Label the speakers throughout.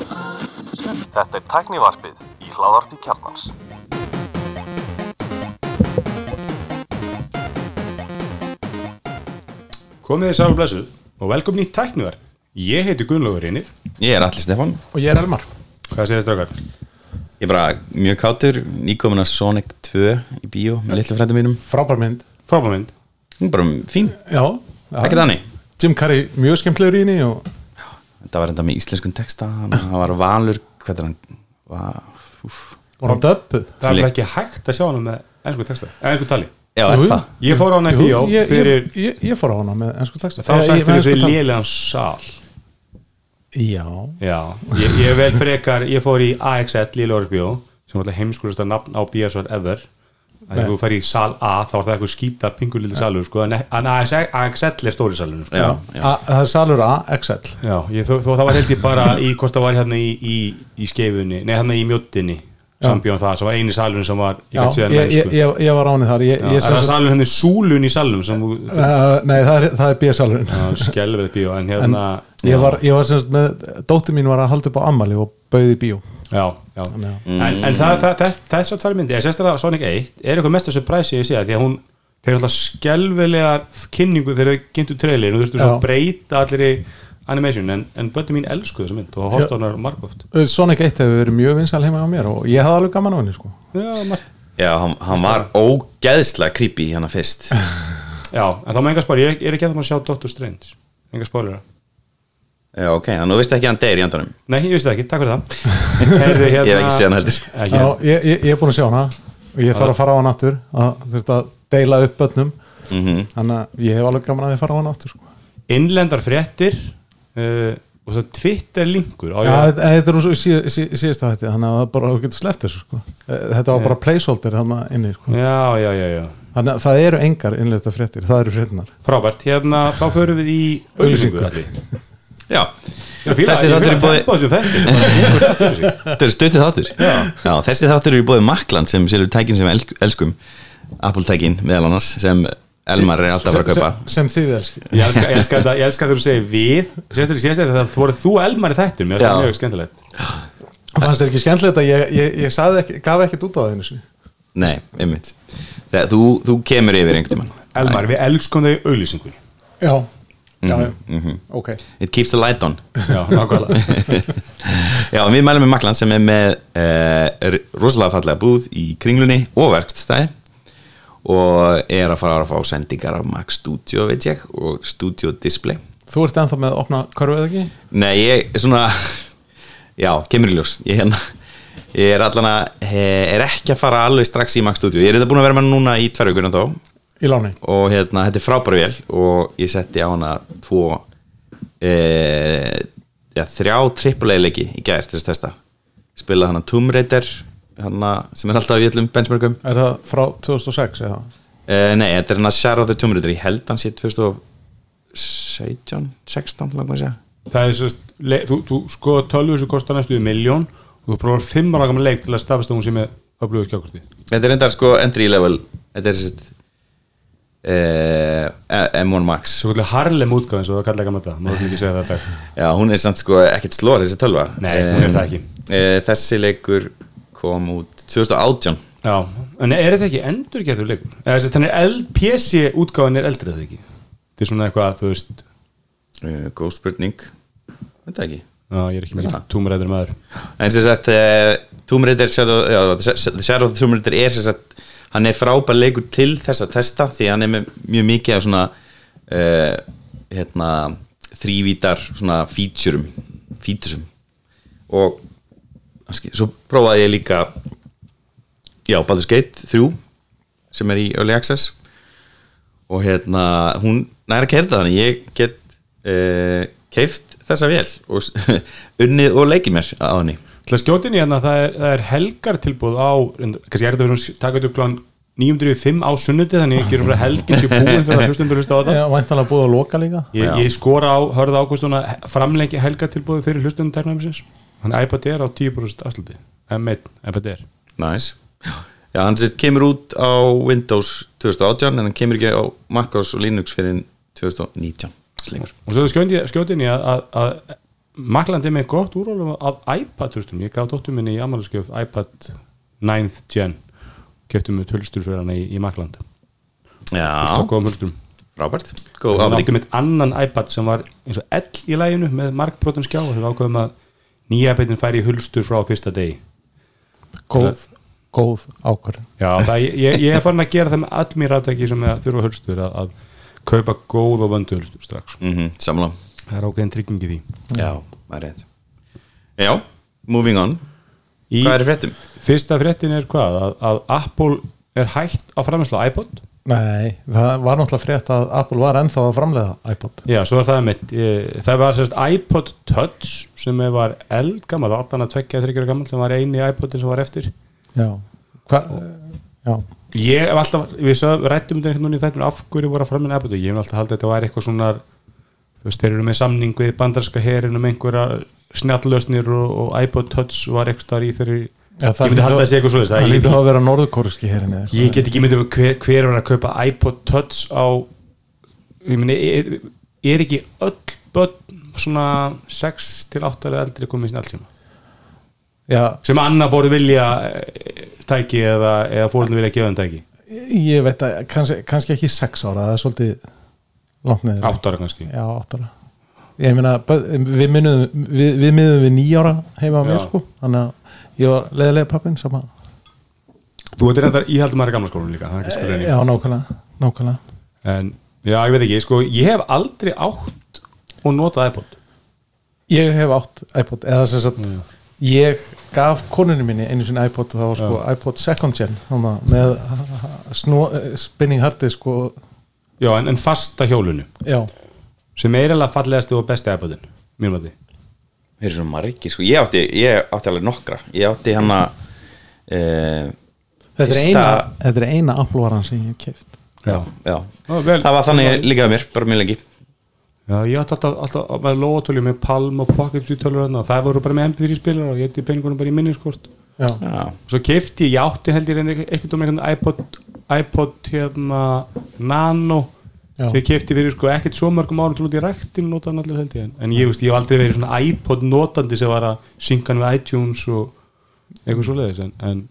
Speaker 1: Þetta er tæknivarpið í hláðarpi kjarnans.
Speaker 2: Komið þið sæl og blessuð og velkomin í tækniverð. Ég heiti Gunnlaugur Einir.
Speaker 3: Ég er Alli Stefán
Speaker 4: Og ég er Elmar
Speaker 2: Hvað segir þið strákar?
Speaker 3: Ég er bara mjög kátur, nýkomin að Sonic 2 í bíó með litlu frændum mínum
Speaker 4: Frábær mynd
Speaker 2: Frábæmynd.
Speaker 3: Hún er bara fín,
Speaker 4: Já, já.
Speaker 3: ekki þannig
Speaker 4: Jim Carrey mjög skemmtlegur í henni og
Speaker 3: Þetta var enda með íslenskun texta hann hann var valur, hvað er hann Va, úf.
Speaker 4: var hann döppuð
Speaker 2: Það er bara ekki hægt að sjá hana með ennsku texta, ennsku tali.
Speaker 3: Já, er
Speaker 4: Jú,
Speaker 3: það
Speaker 2: Ég fór á hana í
Speaker 4: Jú,
Speaker 2: bíó
Speaker 4: ég,
Speaker 2: fyrir,
Speaker 4: ég, ég, ég fór á hana með ennsku texta
Speaker 2: þá
Speaker 4: Eh, ég-
Speaker 2: sættum
Speaker 4: með
Speaker 2: við
Speaker 4: ensku tal.
Speaker 2: lélegan sal.
Speaker 4: Já,
Speaker 2: Já, ég, ég vel frekar, ég fór í AXL Lílóris bíó, sem var alltaf heimskurist að nafn á BSR ever. Það
Speaker 4: Nei.
Speaker 2: er þú fær í sal A, þá er það eitthvað skýta pingu lítið salur, sko, en en AXL AXL er stóri salunum, sko.
Speaker 3: Já, já.
Speaker 4: A, það er salur A, XL
Speaker 2: Já, ég, þó, þó það var held ég bara í hvort það var hérna í, í, í skeifunni, nei hérna í mjóttinni sambjóðan það, sem var eini salun sem var ég
Speaker 4: Já,
Speaker 2: gæti síðan
Speaker 4: ég,
Speaker 2: mennsku
Speaker 4: ég,
Speaker 2: ég,
Speaker 4: ég, ég var á henni þar ég,
Speaker 2: sko. Já,
Speaker 4: ég
Speaker 2: er
Speaker 4: sem
Speaker 2: það
Speaker 4: sagt-
Speaker 2: salun henni súlun í salnum sem þú
Speaker 4: Eh, Nei, það er, það er B-salurinn
Speaker 2: skelverið bíó en hérna
Speaker 4: Ég var, ég var semst með, dóttir mín var að halda upp á ammali og bauði bíó
Speaker 2: já, já.
Speaker 4: Já.
Speaker 2: en, en það, það, það, þessar tvær myndi ég sérstaklega Sonic 1 er eitthvað mesta surprise ég sé það því að hún fyrir alltaf skelvilega kynningu þegar þau kynntu trailerin og þurftu svo
Speaker 4: Já.
Speaker 2: að breyta allir í animation en, en bönni mín elskuðu þessa mynd og hótt á hennar margóft
Speaker 4: Eh, Sonic 1 hefur verið mjög vinsal heima á mér og ég hafði alveg gaman á henni sko.
Speaker 2: já, margt
Speaker 3: já hann, hann var ógeðslega creepy hérna fyrst
Speaker 2: Já, en þá með enga spálir, ég er ekki að það að sjá Doctor Strange Enga spálera
Speaker 3: Já, ok, þannig þú veist ekki að hann deyr í andanum
Speaker 2: Nei, ég vissi það ekki, takk fyrir það Heyrðu, hérna,
Speaker 3: Ég hef ekki séð hann heldur.
Speaker 2: Ekki.
Speaker 4: Já, ég, ég, ég er búin að sjá hana og ég þarf að fara á hana aftur að þurft að deila upp börnum þannig að ég hef alveg gaman að ég fara á hana aftur sko.
Speaker 2: Innlendar fréttir uh, Og það Twitter linkur á
Speaker 4: Já,
Speaker 2: ég,
Speaker 4: þetta þetta er úr sí, sí, síðasta hætti þannig að það bara þú getur sleppt þessu sko. Eh, þetta var bara placeholder hann inni sko.
Speaker 2: já, já, já, já
Speaker 4: þannig að það eru engar innleita fréttir, það eru fréttinar
Speaker 2: Frábært, hérna, þá förum við í
Speaker 4: Auglýsingu.
Speaker 2: auglýsingu allir.
Speaker 3: Já,
Speaker 2: Ég fíla-
Speaker 3: Þessi
Speaker 2: ég
Speaker 3: þáttur
Speaker 2: fíla
Speaker 3: er búið-
Speaker 2: tempo þessu þætti, bara gengur allt fyrir sig.
Speaker 3: þetta er stuttið þáttur já. þessi þáttur eru búið Makland sem selur tækin sem elk, elskum Apple tækin meðal annars sem Elmar er alltaf að fara að kaupa
Speaker 4: sem, sem þið elski
Speaker 2: Ég elska- ég elska þetta- ég elska þegar þú segir við Sérstaklega sérstaklega þegar þú voru þú elmar í þættum Mér er
Speaker 3: Já.
Speaker 2: það mjög skemmtilegt
Speaker 4: fannst þér ekki skemmtilegt að ég, ég, ég sagði ekki, gaf ekkert út á það einu sinni
Speaker 3: Nei, einmitt Þegar þú, þú kemur yfir einhvern tímann
Speaker 2: Elmar, við elskum þau í auglýsingunni
Speaker 4: já, já, já, ok
Speaker 3: It keeps the light on
Speaker 2: Já, nákvæmlega
Speaker 3: Já, en við mælum með Makland sem er með eh, rosalega fallega búð í kringlunni og verkstæði og er að fara að fá sendingar af Mac Studio, veit ég og Studio Display
Speaker 4: þú ert ennþá með að opna körfu eða ekki?
Speaker 3: Nei, ég svona Já, kemur í ljós Ég, hérna, ég er allan að eh, er ekki að fara alveg strax í Mac Studio Ég er þetta búin að vera með hana núna í tvær vikur en þá
Speaker 4: í láni
Speaker 3: og hérna, þetta er frábæra vél og ég setti á hana tvo e, ja, þrjá trippulegleiki í gær til þess að testa spila hana Tomb Raider hana, sem er alltaf í öllum benchmarkum
Speaker 4: er það frá 2006 eða?
Speaker 3: e, nei, þetta er hana Shadow of the Tomb Raider ég held hann sér 2017 16 langt að segja
Speaker 2: það er sérst, le- þú, þú skoða tölvu sem kostar næstu í miljón og þú prófar fimm ára gammal leik til að stafast að hún sé með öflugur skjákorti
Speaker 3: þetta er endar sko entry level þetta er sérst e, M1 Max
Speaker 2: svo kallar harlem útgáð eins og það kallar ekki að matta maður ekki segja það í dag
Speaker 3: Já, hún er samt sko ekkert slóð þessi tölva
Speaker 2: Nei, hún er
Speaker 3: Em,
Speaker 2: það ekki.
Speaker 3: e, Þessi leikur kom út 2018
Speaker 2: já, en er þetta ekki endurgerður leikur eða sérst, þannig er L- PC útgáðin er eldri eða ekki þetta er svona eitthvað, þú veist
Speaker 3: uh, góð spurning þetta ekki
Speaker 2: já, ég er ekki mikið
Speaker 3: það?
Speaker 2: túmuræður maður
Speaker 3: en sem sagt uh, Tomb Raider Shadow, já, The Shadow of the Tomb Raider er sem sagt hann er frábær leikur til þess að testa því hann er með mjög mikið af svona uh, hérna þrývítar svona featurum featuresum og kannski, svo prófaði ég líka já, Baldur's Gate 3 sem er í Early Access og hérna hún næra kerða þannig ég get uh, keift þessa vél og s- unnið og leikið mér á henni
Speaker 2: til að skjóta inn í hérna, það er, það er helgar tilbúð á reyndar- kannski er þetta verið að taka þetta upp klán 905 á sunnundi þannig ég gerum bara helgin sér búin þegar hlustundur hlusta á þetta
Speaker 4: Já, væntanlega búið að loka líka
Speaker 2: Ég,
Speaker 3: Já.
Speaker 2: ég skora á hörða ákvöstun að framlengi helgatilbúðu fyrir hlustunum tæknæmisins Hann iPad Air á 10% afsluti M1, iPad Air
Speaker 3: næs já hann sérst kemur út á Windows 2018 en hann kemur ekki á Mac OS og Linux fyrir 2019 slengur
Speaker 2: Og svo skjóðin ég skjóti inn í að, að, að maklandi er með gott úrvalum af iPad hlustum, ég gaf dóttur minni í ammæluskjöf iPad 9th Gen keftum við tölstur fyrir hana í, í makland
Speaker 3: Já,
Speaker 2: og góðum hlustum
Speaker 3: Robert Góð
Speaker 2: við
Speaker 3: ábygg
Speaker 2: áttum eitt annan iPad sem var eins og ell í læginu með markbrotum skjá og við ákveðum að nýja iPadin færi í hulstur frá fyrsta degi
Speaker 4: góð, góð ákvörðin
Speaker 2: Já, það, ég, ég er farin að gera það með all mér aftæki sem að þurfa hulstur að, að kaupa góð og vöndu hulstur strax
Speaker 3: mm -hmm, Samlá
Speaker 2: það er ákveðin trygging í því
Speaker 3: Já, það er rétt Já, moving on
Speaker 2: í
Speaker 3: Hvað er í fréttum?
Speaker 2: fyrsta fréttin er hvað að, að Apple er hægt á framherslu iPod
Speaker 4: Nei, það var náttúrulega frétt að Apple var ennþá að framleiða iPod
Speaker 2: Já, svo er það mitt eh, Það var sérst iPod Touch sem var eldgammal, 18 að 23 gammal sem var eini iPodin sem var eftir
Speaker 4: Já, Hva, já.
Speaker 2: Ég hef alltaf, við sögum, rættum þetta einhvern veginn í þættunum, af hverju voru að framinna iPod ég hef alltaf haldið að þetta var eitthvað svona þú veist, þeir eru með samning við bandarska herin um einhverja snjallösnir og, og iPod Touch var eitthvað staðar í þeirri
Speaker 4: Já,
Speaker 2: Ég myndi halda að sé eitthvað svoleiðis, það
Speaker 4: Það
Speaker 2: er-
Speaker 4: lítið að vera norðkóriski hérinni
Speaker 2: Ég get ekki myndið hver, hver var að kaupa iPod Touch á ég meni, er, er ekki öll börn svona 6 til 8 eða eldri komið í snjálfsíma
Speaker 4: Já,
Speaker 2: sem annar borð vilja eh, tæki eða, eða fórhundu vilja gefa um tæki
Speaker 4: ég veit að kannski, kannski ekki sex ára, það er svolítið langt niður
Speaker 2: 8 ára kannski
Speaker 4: Já, átt ára Ég meina, börn- við minnum við, við minnum við nýja ára heima á mér
Speaker 2: Já.
Speaker 4: sko Þannig að ég var leiðilega pappin sem að
Speaker 2: Þú ert reyndar íhaldum aðra gamla skólanum líka það er ekki sko
Speaker 4: Eh, Já, nákvæmlega, nákvæmlega
Speaker 2: en já, ég veit ekki, sko, ég hef aldrei átt og notað iPod
Speaker 4: Ég hef átt iPod eða sem sagt
Speaker 3: Mm.
Speaker 4: ég gaf konunni minni einu sinni iPod og það var sko iPod second gen hana, með snú, spinning hardið sko
Speaker 2: já, en, en fasta hjólunu
Speaker 4: já,
Speaker 2: sem er alveg fallegasti og besti iPodin mínum að því
Speaker 3: Þeir eru svo margir sko, ég átti, ég átti alveg nokkra Ég átti hann að eh,
Speaker 4: þetta, er
Speaker 3: Fyrsta-
Speaker 4: eina, þetta er eina Apple varan sem ég hef keift
Speaker 2: Já,
Speaker 3: Já,
Speaker 2: Ó, vel.
Speaker 3: það var þannig líka að mér, bara mjög lengi
Speaker 2: já ég átti alltaf, alltaf með lóatölju með Palm og Pocket 7 tölur og það voru bara með MP3 spilar og ég ætti peningunum bara í sko, minniskort
Speaker 4: já,
Speaker 3: Já,
Speaker 2: og svo kefti ég, ég átti held ég reyndi eitthvað um einhvern iPod, iPod hérna, Nano
Speaker 4: Já.
Speaker 2: sem ég kefti fyrir sko ekkert svo mörgum árum til út í ræktin notaðan allir held ég en, en ég, veist, ég hef aldrei verið svona iPod notandi sem var að synga hann við iTunes og eitthvað svoleiðis en, en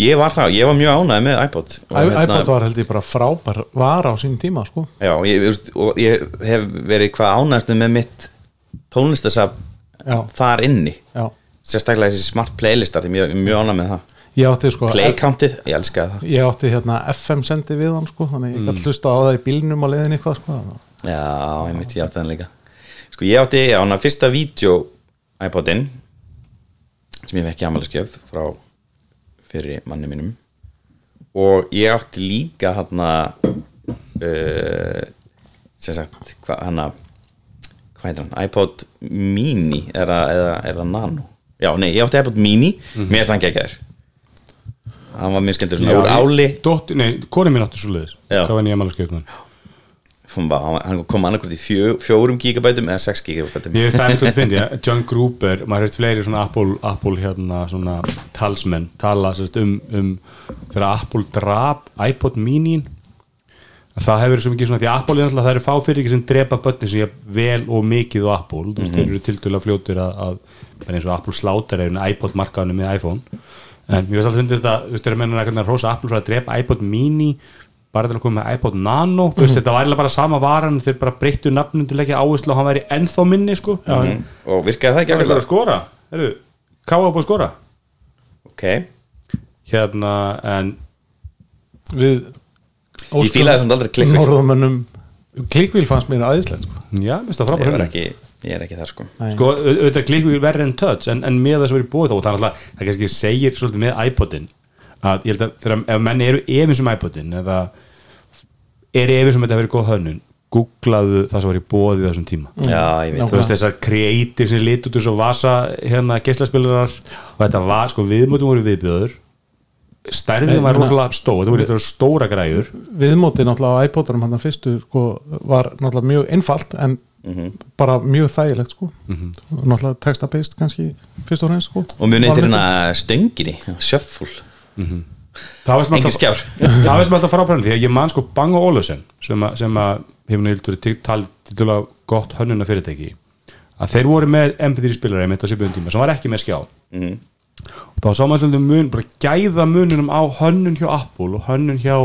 Speaker 3: ég var það, ég var mjög ánægð með iPod Og
Speaker 4: I,
Speaker 3: hérna-
Speaker 4: iPod var held ég bara frábær var á sínum tíma sko
Speaker 3: Já, ég, þú veist, og ég hef verið hvað ánægstu með mitt tónlistasab
Speaker 4: Já.
Speaker 3: þar inni
Speaker 4: já,
Speaker 3: sérstaklega þessi smart playlistar ég er mjög- mjög ánægð með það
Speaker 4: ég átti sko
Speaker 3: Playcountið, ég elska það
Speaker 4: ég átti hérna FM sendi við hann sko
Speaker 3: Mm.
Speaker 4: þannig ég gæti hlusta á það í bílnum á leiðin eitthvað sko þannig að-
Speaker 3: Já, ég mitt ég átti þann líka Sko ég átti, já, hann að fyrsta vídeo iPodin sem ég fekk í amalskjöf frá fyrir manni mínum og ég átti líka hann að sem sagt, hva, hann að hvað heitir hann, iPod mini eða, eða, eða nano já, nei, ég átti iPod mini mér erst hann geggjær hann var mjög skemmtur svona úr áli
Speaker 2: dótt, nei, kori mín átti svoleiðis
Speaker 3: Já.
Speaker 2: það var nýja málaskjöfnum
Speaker 3: Hún var- hann kom annarkvort í fjö, fjórum gigabætum eða sex gigabætum
Speaker 2: Ég veist það er einhvern veginn fyndi, John Gruber, maður hefði fleiri svona Apple, Apple hérna, svona talsmenn tala sérst um, um þegar Apple drap iPod mini að það hefur verið svo mikið svona því að Apple er náttúrulega, það eru fá fyrirtæki sem drepa börni sem ég vel og mikið á Apple þú veist, þeir eru tildulega fljótur að, að bara eins og Apple slátar eða iPod markaðunum með iPhone, en ég veist alltaf fyndið þetta, þú veist, þeir eru meina að rosa Apple fyrir að drepa iPod mini bara til að koma með iPod Nano þú veist, þetta var eiginlega bara sama varan þeir bara breyttu nafnum til ekki áherslu og hann væri ennþá minni sko, mm.
Speaker 3: og virkaði sko. það
Speaker 2: það er
Speaker 3: ekki
Speaker 2: bara að
Speaker 3: akkurlega
Speaker 2: skora Heru, Káa búið að skora
Speaker 3: ok,
Speaker 2: hérna, en
Speaker 4: við
Speaker 3: ég fílaði samt aldrei klikk ég,
Speaker 4: norðumönnum klikkvíl fannst mér aðeinslegt sko.
Speaker 2: já, mér finnst það frábæra hönnun.
Speaker 3: var ekki, ég er ekki þar sko
Speaker 4: Nei.
Speaker 2: sko, au- auðvitað klikkvíl verri en touch en, en með það sem er í búið þá og það er alltaf, það kannski segir svolítið með iPodin að ég held að þegar ef menni eru efins um iPodin eða eru efins um að þetta verið góð hönnun googlaðu það sem var í búið í þessum tíma
Speaker 3: já, ég veit
Speaker 4: Já.
Speaker 3: það
Speaker 2: þú veist þessar kreatív sem lit út úr svo vasa hérna geislaspilarar og þetta var sko viðmótum voru viðbjöður stærðin
Speaker 4: Nei,
Speaker 2: var
Speaker 4: meina-
Speaker 2: rosalega stór þetta voru þetta voru stóra græður
Speaker 4: viðmóti náttúrulega á iPod-urum hann fyrstu sko, var náttúrulega mjög einfalt en
Speaker 3: Mhm.
Speaker 4: bara mjög þægilegt sko. náttúrulega texta-based kannski fyrst og fremst sko.
Speaker 3: og mjög
Speaker 4: Var
Speaker 3: neytir
Speaker 4: mikið-
Speaker 3: hérna stönginni shuffle,
Speaker 2: það veist
Speaker 3: engin
Speaker 2: maður
Speaker 3: skjár
Speaker 2: alltaf frábærandi því að ég man sko Bang Olufsen sem að, sem að hefur nýldur talið til að gott hönnuna fyrirtæki að þeir voru með MP3 spilara einmitt á svipuðum tíma sem var ekki með skjá
Speaker 3: Mhm.
Speaker 2: og þá sá maður svolítið mun, bara gæða mununum á hönnun hjá Apple og hönnun hjá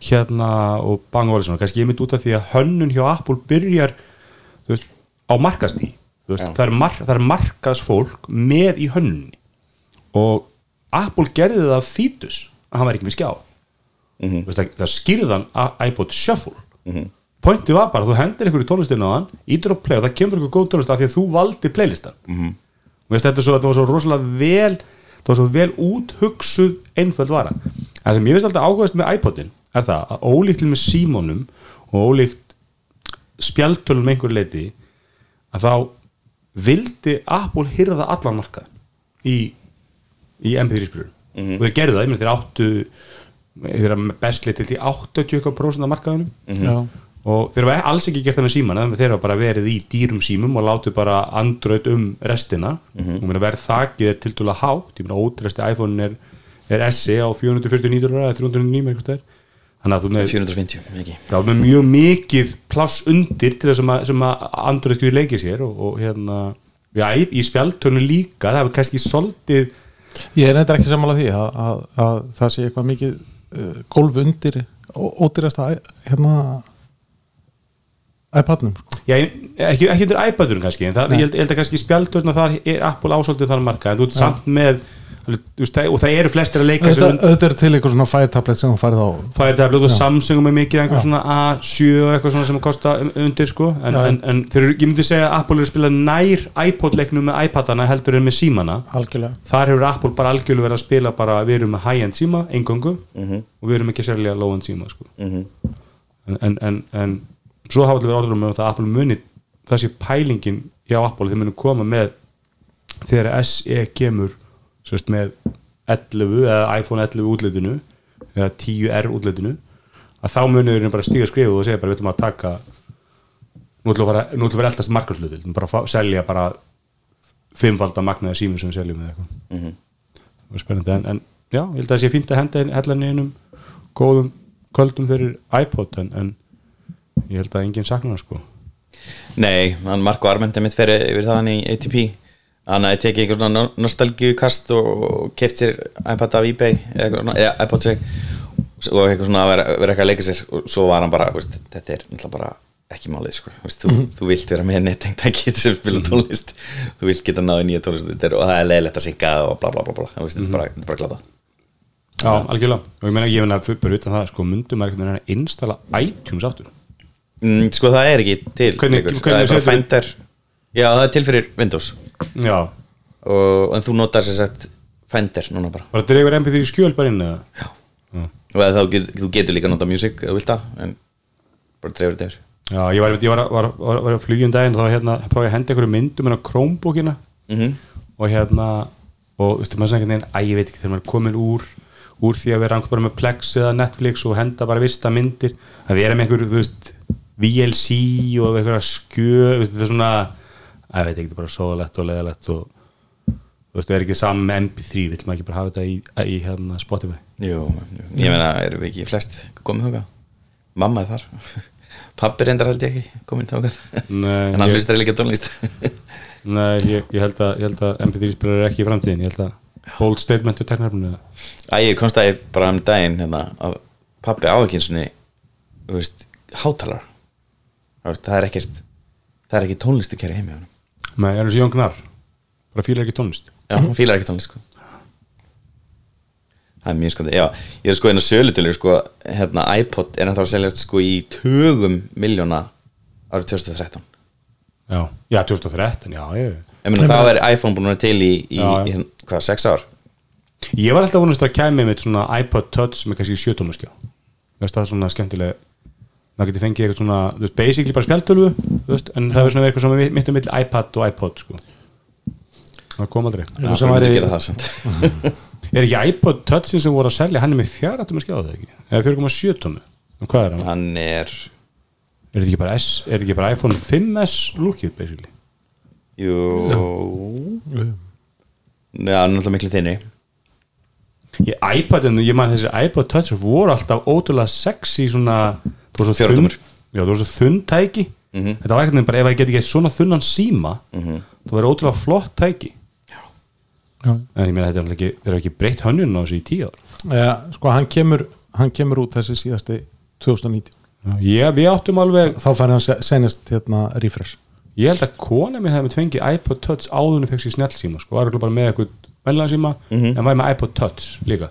Speaker 2: hérna og Bang Olsson og kannski ég mynd út af því að hönnun hjá Apple byrjar þú veist, á markastí þú veist,
Speaker 3: Já.
Speaker 2: það er, mar, það er markas fólk með í hönnunni og Apple gerði það af fítus að hann var ekki með skjá mm -hmm. það skýrðan iPod Shuffle mm -hmm. pointi var bara, þú hendir einhverju tónlistinu á hann ítur á play og það kemur einhverju góð tónlist af því að þú valdi playlistan mm -hmm. veist, þetta, er svo, þetta var svo rosalega vel það var svo vel úthugsuð einföld vara það sem ég veist alltaf ágæðast með iPodin er það að ólíkt með símónum og ólíkt spjaltölum einhverju leiti að þá vildi Apple hyrða allan markað í í MP3 spilur og þeir gerðu það, ég meina þeir áttu þeir eru bestli til því 80% af markaðunum og þeir hafa alls ekki gert það með símana þeir hafa bara verið í dýrum símum og látu bara andröð um restina og meina verð þakið er tiltúlega hátt ég meina ótresti iPhone er, er SE á 449 dólar eða 309 eitthvað það er. þannig að þú með
Speaker 3: 450, ekki
Speaker 2: Já, með mjög mikið pláss undir til þess að- sem að Android skilur leikið sér og, og hérna, já, í, í spjaltönnu líka, það er kannski soldið
Speaker 4: Ég er neitt ekki sammála því að, að, að það sé eitthvað mikið uh, golf undir ó- ódýrasta æ- hérna iPadnum sko.
Speaker 2: Já, ég- ekki, ekki undir iPadunum kannski en það, ég, held, ég held að kannski spjaldurna þar er Apple ásóldið þar marka en þú ert samt með alveg, þú veist, það- og það eru flestir að leika
Speaker 4: Þetta
Speaker 2: sér
Speaker 4: auðvitað er til eitthvað svona Fire tablet sem hún færið á
Speaker 2: það er það blóð og Samsung er mikið einhver svona A7 og eitthvað svona sem kosta um- undir sko en,
Speaker 4: Já.
Speaker 2: en, en þeir, eru- ég myndi segja að Apple er að spila nær iPod-leiknum með iPadana heldur en með símana
Speaker 4: algjörlega
Speaker 2: þar hefur Apple bara algjörlega verið að spila bara við erum með high-end síma, engöngu og við erum ekki sérlega low-end síma sko. en, en, en, en svo hafa allir verið orður um það að Apple muni það sé pælingin hjá Apple þeir muni koma með þegar SE kemur sérst, með 11 eða iPhone 11 útlitinu eða 10R útlitinu að þá muni þeir bara stíga skrifu og segja bara við ætlum að taka nú ætlum við að fara- nú ætlum við að eldast markarslutil bara að fá- selja bara fimmfalda magnaði sími sem við seljum eða eitthvað það var spennandi en, en já, ég held að það sé fínt að henda hellan einum um góðum köldum fyrir iPod en, en ég held að enginn sakna það sko
Speaker 3: Nei, hann Marko Armendi mitt fyrir yfir það hann í ATP hann hafði tekið einhvern svona no- nostalgíukast og, og keft sér iPad af eBay eða eitthvað svona- eða iPod sig og eitthvað svona að vera, vera eitthvað að leika sér og svo var hann bara, veist, þetta er náttúrulega bara ekki málið, sko, veist, þú,
Speaker 2: Mhm.
Speaker 3: þú vilt vera með nettengt að geta sem spila tónlist þú vilt geta náðu nýja tónlist þetta er- og það er leiðilegt að synga og bla bla bla bla þú veist,
Speaker 2: Mhm.
Speaker 3: þetta er bara, þetta er bara glata
Speaker 2: já, algjörlega, og ég meina ég meina fyrir utan það sko, myndum maður einhvern veginn að installa iTunes aftur
Speaker 3: mm, sko það er ekki til
Speaker 2: Hvernig-
Speaker 3: lengur.
Speaker 2: hvernig
Speaker 3: það er bara
Speaker 2: setur-
Speaker 3: fændar já, það er til fyrir Windows
Speaker 2: já,
Speaker 3: og, en þú notar sér sagt Fender núna bara
Speaker 2: bara dregur MP3 skjöl bara inn eða
Speaker 3: og eða þá get, þú getur líka nota music eða þú vilt það, en bara trefur þetta yfir
Speaker 2: já, ég var, ég var, var, var, var að flygjum daginn og þá hérna, prófaði ég að henda einhverju myndum en á Chromebookina
Speaker 3: Mhm.
Speaker 2: og hérna og veistu maður svona einhvern veginn, æ ég veit ekki þegar maður er komin úr úr því að vera einhvern bara með Plex eða Netflix og henda bara vista myndir að vera með einhver, þú veist VLC og einhverja skjö veistu, það er svona, æ ég veit ekki, það er bara sóðalegt og leðalegt og þú veist, það er ekki saman með MP3, vill maður ekki bara hafa þetta í, í hérna Spotify
Speaker 3: jú, jú. ég meina, erum við ekki flest komið þóka, mamma er þar pappi reyndar held ég ekki komið þóka
Speaker 2: Nei,
Speaker 3: en hann
Speaker 2: ég-
Speaker 3: hlustar líka tónlist
Speaker 2: Nei, ég, ég, held, að, ég held að MP3 spilar ekki í framtíðin, ég held að bold statement er teknarfnum
Speaker 3: Æ, ég komst að ég bara um daginn hérna, að pappi á ekki einu sinni, þú veist, hátalar það er ekkert það er ekki tónlistu kæri heimi á hann
Speaker 2: Nei, er þessi Jón Gnar bara fílar ekki tónlist
Speaker 3: Já, hann fílar ekki tónlist sko. Það er mjög skoði Já, ég er sko einu sölutölur sko, hérna, iPod er ennþá að selja sko í tugum miljóna árið 2013
Speaker 2: Já, já 2013, já ég
Speaker 3: Ég meina, þá er iPhone búin að vera til í, í,
Speaker 2: Já, já.
Speaker 3: í hérna, hvað, sex ár
Speaker 2: Ég var alltaf vonast að kæmi með svona iPod Touch sem er kannski sjötómaskjá veist það er svona skemmtilega maður getur fengið eitthvað svona, þú veist, basically bara spjaltölvu þú veist, en það er svona eitthvað svona mitt um mill iPad og iPod, sko það kom aldrei
Speaker 4: Eitthvað sem
Speaker 3: Það er
Speaker 4: væri-
Speaker 3: að gera það samt
Speaker 2: Er ekki iPod Touchin sem voru að selja, hann er með fjara tómi skjá það ekki, eða 4,7 tómi en hvað er hann?
Speaker 3: Hann er,
Speaker 2: Er þetta ekki bara S, er þetta ekki bara iPhone 5S lúkið, basically?
Speaker 3: jú Já, hann er náttúrulega miklu þinni
Speaker 2: Ég, iPodin, ég man þessi iPod Touch voru alltaf ótrúlega sexy svona, þú var svo
Speaker 3: Fjóra
Speaker 2: þunn-
Speaker 3: tómur.
Speaker 2: Já, þú var svo þunn tæki þetta var ekkert bara ef ég get ekki eitt svona þunnan síma það verður ótrúlega flott tæki
Speaker 4: Já.
Speaker 2: en ég meina þetta er náttúrulega ekki þeir eru ekki breytt hönnun á þessu í tíu ár
Speaker 4: ja, sko hann kemur, hann kemur út þessi síðasti 2019
Speaker 2: ég, við áttum alveg
Speaker 4: þá fær hann se- senast hérna refresh
Speaker 2: ég held að kona mín hefði með fengið iPod Touch áðunni fekk sér snjallsíma sko, var örugglega bara með eitthvað mennlega síma en var með iPod Touch líka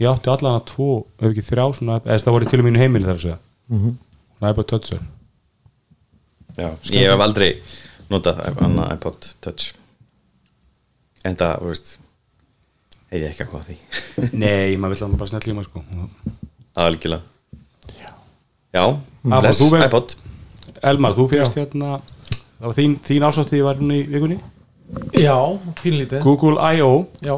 Speaker 2: ég átti allan að tvo, ef ekki þrjá svona, eða það voru til og mínu heimili þar að segja svona iPod Touch er
Speaker 3: Já, ég hef aldrei notað annað iPod Touch en það, þú veist hef ég ekki að hvað því
Speaker 2: nei, maður vill að bara snjallsíma sko
Speaker 3: algjörlega já,
Speaker 2: Apple,
Speaker 3: bless
Speaker 2: þú veist-
Speaker 3: iPod
Speaker 2: Elmar, þú fyrst hérna það var þín, þín ásáttið var hún í vikunni
Speaker 4: já, pínlítið
Speaker 2: Google I.O.
Speaker 4: já,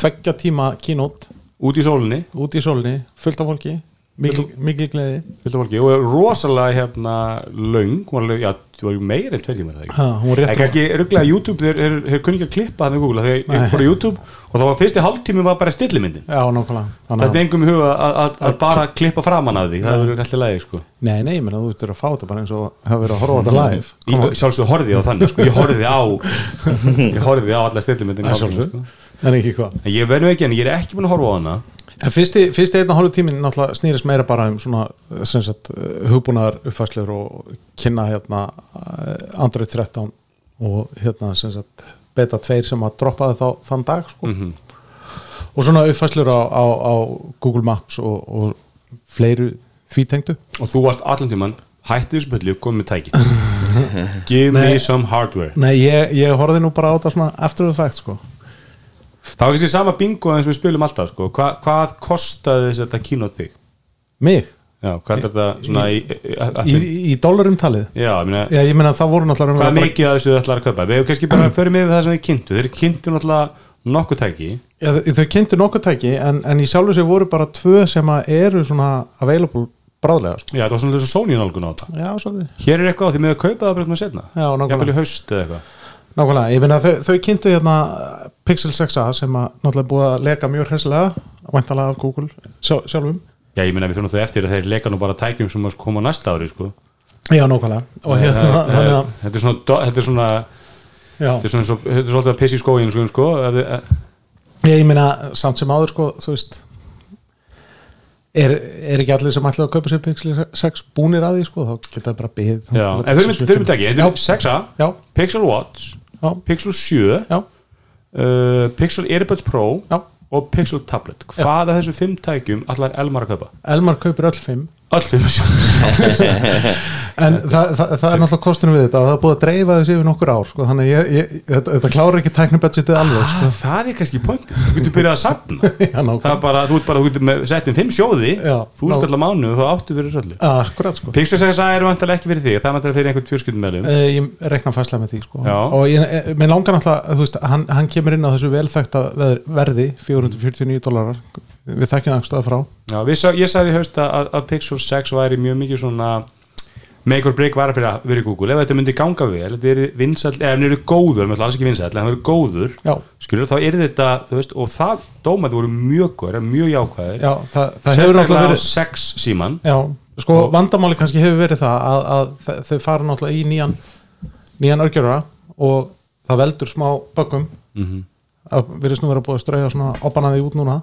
Speaker 4: tveggja tíma kínót
Speaker 2: út í sólinni
Speaker 4: út í sólni, fullt af fólki mikil, mikil gleði
Speaker 2: fylgta fólki og er rosalega hérna löng, hún var alveg, já, þú var meira en tveir tímar er það ekki
Speaker 4: ha, hún
Speaker 2: Það er
Speaker 4: rétt
Speaker 2: kannski rugglega YouTube, þeir, þeir, þeir kunni ekki að klippa það með Google, þegar ég fór á YouTube og það var fyrsti hálftími var bara stillimyndin
Speaker 4: já, nákvæmlega
Speaker 2: Það er
Speaker 4: Þannig,
Speaker 2: engum í huga að- að- að bara klippa framan að því, það er alltaf lægi sko
Speaker 4: að- nei, nei, ég menna þú ert að fá þetta bara eins og hafa verið að horfa á þetta live Koma-
Speaker 2: Ég sjálfsög horfið á þannig sko, ég horfið á ég horfið á alla stillimyndin sko.
Speaker 4: Að sjálfsögðu. en ekki hvað
Speaker 2: En ég verðum ekki, en ég er ekki búin að horfa á hana
Speaker 4: En fyrsti, fyrsti einn og hálfu tíminn náttúrulega snýrist meira bara um svona sem sagt eh, hugbúnaðar uppfæslur og kynna hérna eh, Android 13 og hérna sem sagt beta 2 sem að droppaði þá þann dag sko.
Speaker 2: Mhm.
Speaker 4: og svona uppfæslur á, á, á Google Maps og, og fleiru þvítengdu
Speaker 2: og þú varst allan tíman, hætti þessu byrli og komið með tæki Give me
Speaker 4: Nei.
Speaker 2: some hardware
Speaker 4: Nei, ég, ég horfði nú bara á þetta svona after the fact sko.
Speaker 2: Það var kannski sama bingo aðeins sem við spilum alltaf sko, Hva, hvað kostaði þess að þetta kínót þig?
Speaker 4: mig,
Speaker 2: Já, hvað er þetta svona í, í,
Speaker 4: í,
Speaker 2: í, í,
Speaker 4: í dólarum talið
Speaker 2: Já, ég meina,
Speaker 4: Já, ég meina það voru náttúrulega
Speaker 2: hvað er
Speaker 4: bara-
Speaker 2: mikið að þessu þau ætlar að kaupa við hefum kannski bara að förum yfir það sem þið kynntu þeir kynntu náttúrulega nokkuð tæki
Speaker 4: Já, þau- þau kynntu nokkuð tæki en, en í sjálfu sér voru bara tvö sem að eru svona available bráðlega sko.
Speaker 2: já það var svona þessu Sony nálgun á þetta
Speaker 4: Já, svolítið
Speaker 2: hér er eitthvað á því með að kaupa það bara með setna
Speaker 4: Já, nákvæmlega.
Speaker 2: jafnvel í haust eða eitthvað
Speaker 4: Nákvæmlega, ég meina þau, þau kynntu hérna eh, Pixel 6a sem að náttúrulega búið að leka mjög hressilega væntalega af Google sjálf, sjálfum
Speaker 2: já ég meina við finnum þau eftir að þeir leka nú bara tækjum sem að koma á næsta ári sko
Speaker 4: Já, nákvæmlega og hérna,
Speaker 2: Það- það-
Speaker 4: þannig að
Speaker 2: þetta er svona do- þetta er svona þetta
Speaker 4: já.
Speaker 2: er svona eins og- þetta er svolítið að pissi í skóin sko, sko að, að,
Speaker 4: Ég, ég meina samt sem áður sko, þú veist Er, er ekki allir sem ætlaði að kaupa sér Pixel 6 búnir að því sko, þá geta það bara byggð
Speaker 2: já en þau erum þau erum tæki þetta er 6a
Speaker 4: Já,
Speaker 2: Pixel Watch
Speaker 4: já,
Speaker 2: Pixel 7
Speaker 4: já,
Speaker 2: uh, Pixel Earbuds Pro
Speaker 4: já
Speaker 2: og Pixel Tablet hvað af þessum fimm tækjum allar Elmar að kaupa
Speaker 4: Elmar kaupir öll 5
Speaker 2: öll fimm
Speaker 4: En það, það, það er náttúrulega kostunum við þetta og það er búið að dreifa þessu yfir nokkur ár sko, þannig að ég, ég, þetta, þetta klárar ekki tæknibudgetið alveg sko.
Speaker 2: Ah, það er kannski pointið, þú getur byrjað að safna
Speaker 4: Já,
Speaker 2: það er
Speaker 4: nákvæmlega.
Speaker 2: bara, þú ert bara, þú getur með settin fimm sjóði
Speaker 4: Já,
Speaker 2: þú
Speaker 4: ná-
Speaker 2: skall að mánu og þá áttu fyrir söllu
Speaker 4: Akkurat sko
Speaker 2: Pixar segja það er vantilega ekki fyrir þig, það er vantilega fyrir einhvern fjörskildum meðlum
Speaker 4: Eh, Ég rekna fæslega með því sko
Speaker 2: Já.
Speaker 4: og ég, eh, mér langar náttúrulega, þú veist, hann, hann kemur inn á þessu velþekta veðr- verði 449 dólarar, við þekkjum angstaða frá
Speaker 2: Já, við sá, ég sagði í haust að, að- að Pixar 6 væri mjög mikið svona make or break vara fyrir að vera í Google ef þetta myndi ganga vel, þetta er vinsall ef hann eru góður, maður ætla alls ekki vinsall en hann eru góður,
Speaker 4: Já,
Speaker 2: skilur, þá er þetta þú veist, og það, dómaði voru mjög góður mjög jákvæðir,
Speaker 4: já það, það hefur
Speaker 2: sérstaklega á
Speaker 4: náttúrulega verið
Speaker 2: 6 síman
Speaker 4: Já, sko vandamáli kannski hefur verið það að, að þe- þau fara náttúrulega í nýjan nýjan örgjörra og það veldur smá böggum Mhm. að virðist nú vera búið að strauja svona opanaði út núna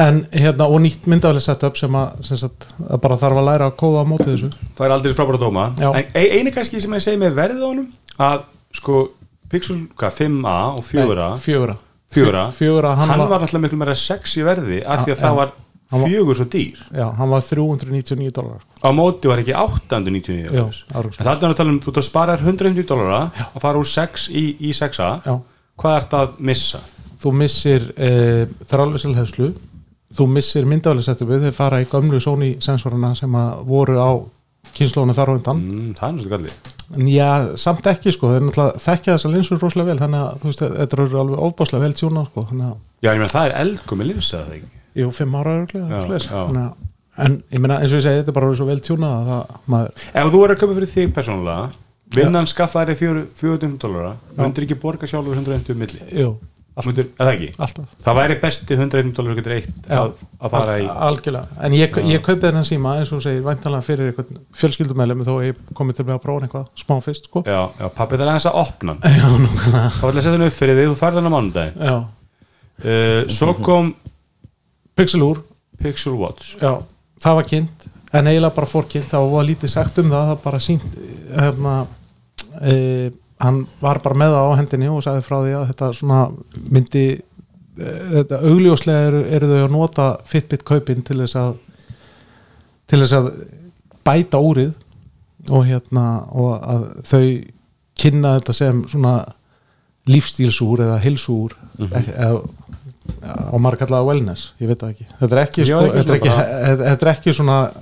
Speaker 4: en hérna og nýtt myndafli setup sem að sem sagt, að bara þarf að læra að kóða á móti þessu
Speaker 2: Það er aldrei frábæra dóma
Speaker 4: Já.
Speaker 2: En e- eini kannski sem ég segi með verðið á honum Að sko Pixel hvað, 5a og 4a
Speaker 4: Nei, fjögurra.
Speaker 2: 4a,
Speaker 4: fjögurra, hann
Speaker 2: hann,
Speaker 4: var-
Speaker 2: var náttúrulega miklu meira 6 í verði af því að
Speaker 4: Já,
Speaker 2: það
Speaker 4: já.
Speaker 2: var
Speaker 4: Hann var-
Speaker 2: fjögur svo dýr
Speaker 4: Já, hann var 399 dólar
Speaker 2: á móti var ekki 899
Speaker 4: Já,
Speaker 2: dollars. en
Speaker 4: árugst.
Speaker 2: það er að tala um, þú ert að spara 150 dólara að fara úr 6 í, í 6a
Speaker 4: Já.
Speaker 2: hvað ert að missa?
Speaker 4: þú missir e, þrálfisalhefslu þú missir myndafli setupið þau fara í gömlu Sony sensorana sem að voru á kynslónu þar á undan
Speaker 2: Mm, það er náttúrulega gallið
Speaker 4: En Já, samt ekki sko, þeir náttúrulega þekkja þessar linsur rosalega vel, þannig að þú veist, þetta eru alveg ofbáslega vel tjóna sko, þannig að,
Speaker 2: Já, ég meina það er eldgum með linsa það ekki
Speaker 4: jú, fimm ára
Speaker 2: Já, já.
Speaker 4: örglega, þannig að, en ég meina, eins og ég segi, þetta er bara orðið svo vel tjónað að það, maður,
Speaker 2: Ef þú er að köpa fyrir þig persónulega vinnan skaffaði 400 dólara
Speaker 4: Já.
Speaker 2: undir ekki borga sjálfur 150 milli
Speaker 4: jú,
Speaker 2: Myndir, eða ekki?
Speaker 4: alltaf
Speaker 2: Það væri besti 101 dólar getur eitt að, að fara í
Speaker 4: algjörlega, en ég, ég kaupi þennan síma eins og þú segir, væntalega fyrir eitthvað fjölskyldumælum þó ég komið til með að prófa hann eitthvað smá fyrst, sko
Speaker 2: Já, já pappi það er aðeins að opna hann Já, núna Það var að setja hann upp fyrir því, þú færði hann á mánudaginn
Speaker 4: já.
Speaker 2: uh, Svo
Speaker 4: Mhm.
Speaker 2: kom
Speaker 4: Pixel úr,
Speaker 2: Pixel Watch
Speaker 4: já, það var kynnt en eiginlega bara fór kynnt, það var lítið sagt um það það bara sínt hérna, e, hann var bara með það á hendinni og sagði frá því að þetta svona myndi e, þetta augljóslega eru, eru þau að nota Fitbit kaupin til þess að til þess að bæta úrið og hérna og að þau kynna þetta sem svona lífstílsúr eða heilsúr
Speaker 2: Mhm.
Speaker 4: eh, eða á margallega wellness, ég veit það ekki þetta er ekki,
Speaker 2: Já,
Speaker 4: sko,
Speaker 2: ekki
Speaker 4: þetta, er
Speaker 2: svona
Speaker 4: ekki þetta- þetta er ekki svona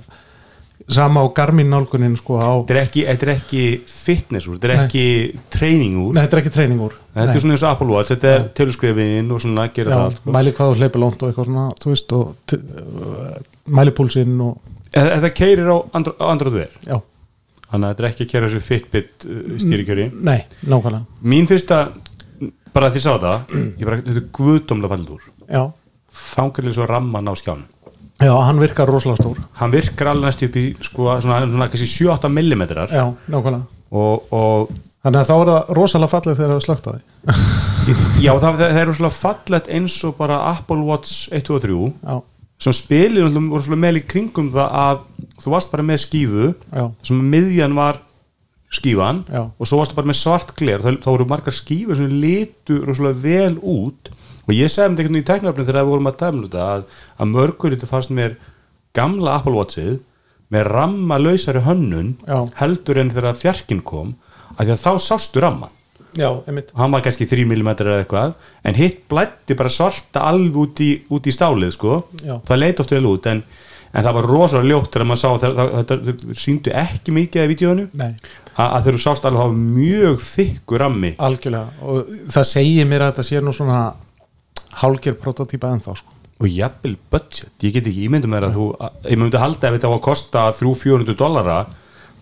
Speaker 4: sama á Garmin nálgunin sko á,
Speaker 2: Þetta er ekki, þetta er ekki fitness úr, þetta er
Speaker 4: Nei.
Speaker 2: ekki training úr
Speaker 4: nei þetta er ekki treyning úr
Speaker 2: Þetta er svona eins og Apple Watch, þetta er teleskrifiðin og svona gera það allt, sko.
Speaker 4: mæli hvað þú hleypur lónt og eitthvað svona þú veist og t- uh, mæli púlsinn og
Speaker 2: Þetta E, þetta keirir á andro- á Android Wear
Speaker 4: já,
Speaker 2: Þannig að þetta er ekki að keira þessu Fitbit uh, stýrikjöri
Speaker 4: nei, nákvæmlega
Speaker 2: Mín fyrsta, bara því sá það Ég bara, þetta er guðdómlega fallið úr
Speaker 4: já,
Speaker 2: Þangarlega svo ramman á skjánum
Speaker 4: já, hann virkar rosalega stór
Speaker 2: hann virkar alveg næstu upp í sko, svona, svona kannski 7-8 millimetrar
Speaker 4: já, nákvæmlega
Speaker 2: og, og
Speaker 4: þannig að þá er það rosalega fallið þegar það slögt að því
Speaker 2: já, það, það, það er svona fallegt eins og bara Apple Watch 1 og 3
Speaker 4: já,
Speaker 2: sem spilið náttúrulega voru svona meðl í kringum það að þú varst bara með skífu
Speaker 4: já,
Speaker 2: sem að miðjan var skífan
Speaker 4: Já.
Speaker 2: og svo varstu bara með svart gler þá, þá voru margar skífur sem litu rosalega vel út og ég sagði um þetta einhvern veginn í teknafnum þegar við vorum að dæmla þetta að, að mörgur þetta fannst mér gamla Apple Watchið með ramma lausari hönnun
Speaker 4: Já.
Speaker 2: heldur en þegar fjarkinn kom af því að þá sástu ramman
Speaker 4: já, einmitt
Speaker 2: og hann var kannski 3 mm eða eitthvað en hitt blætti bara svarta alveg út í, út í stálið sko
Speaker 4: Já.
Speaker 2: það leit oft vel út en, en það var rosalega ljótt þegar maður sá það, það, það, það sýndu ekki mikið í vídeoinu
Speaker 4: Nei.
Speaker 2: A, að þegar þú sást alveg það var mjög þykkur rammi
Speaker 4: algjörlega og það segir mér að þetta sé nú svona hálgir prototýpa ennþá sko.
Speaker 2: og jafnvel budget ég get ekki ímyndum mér að þú að, ég myndi halda ef þetta var að kosta 300-400 dollara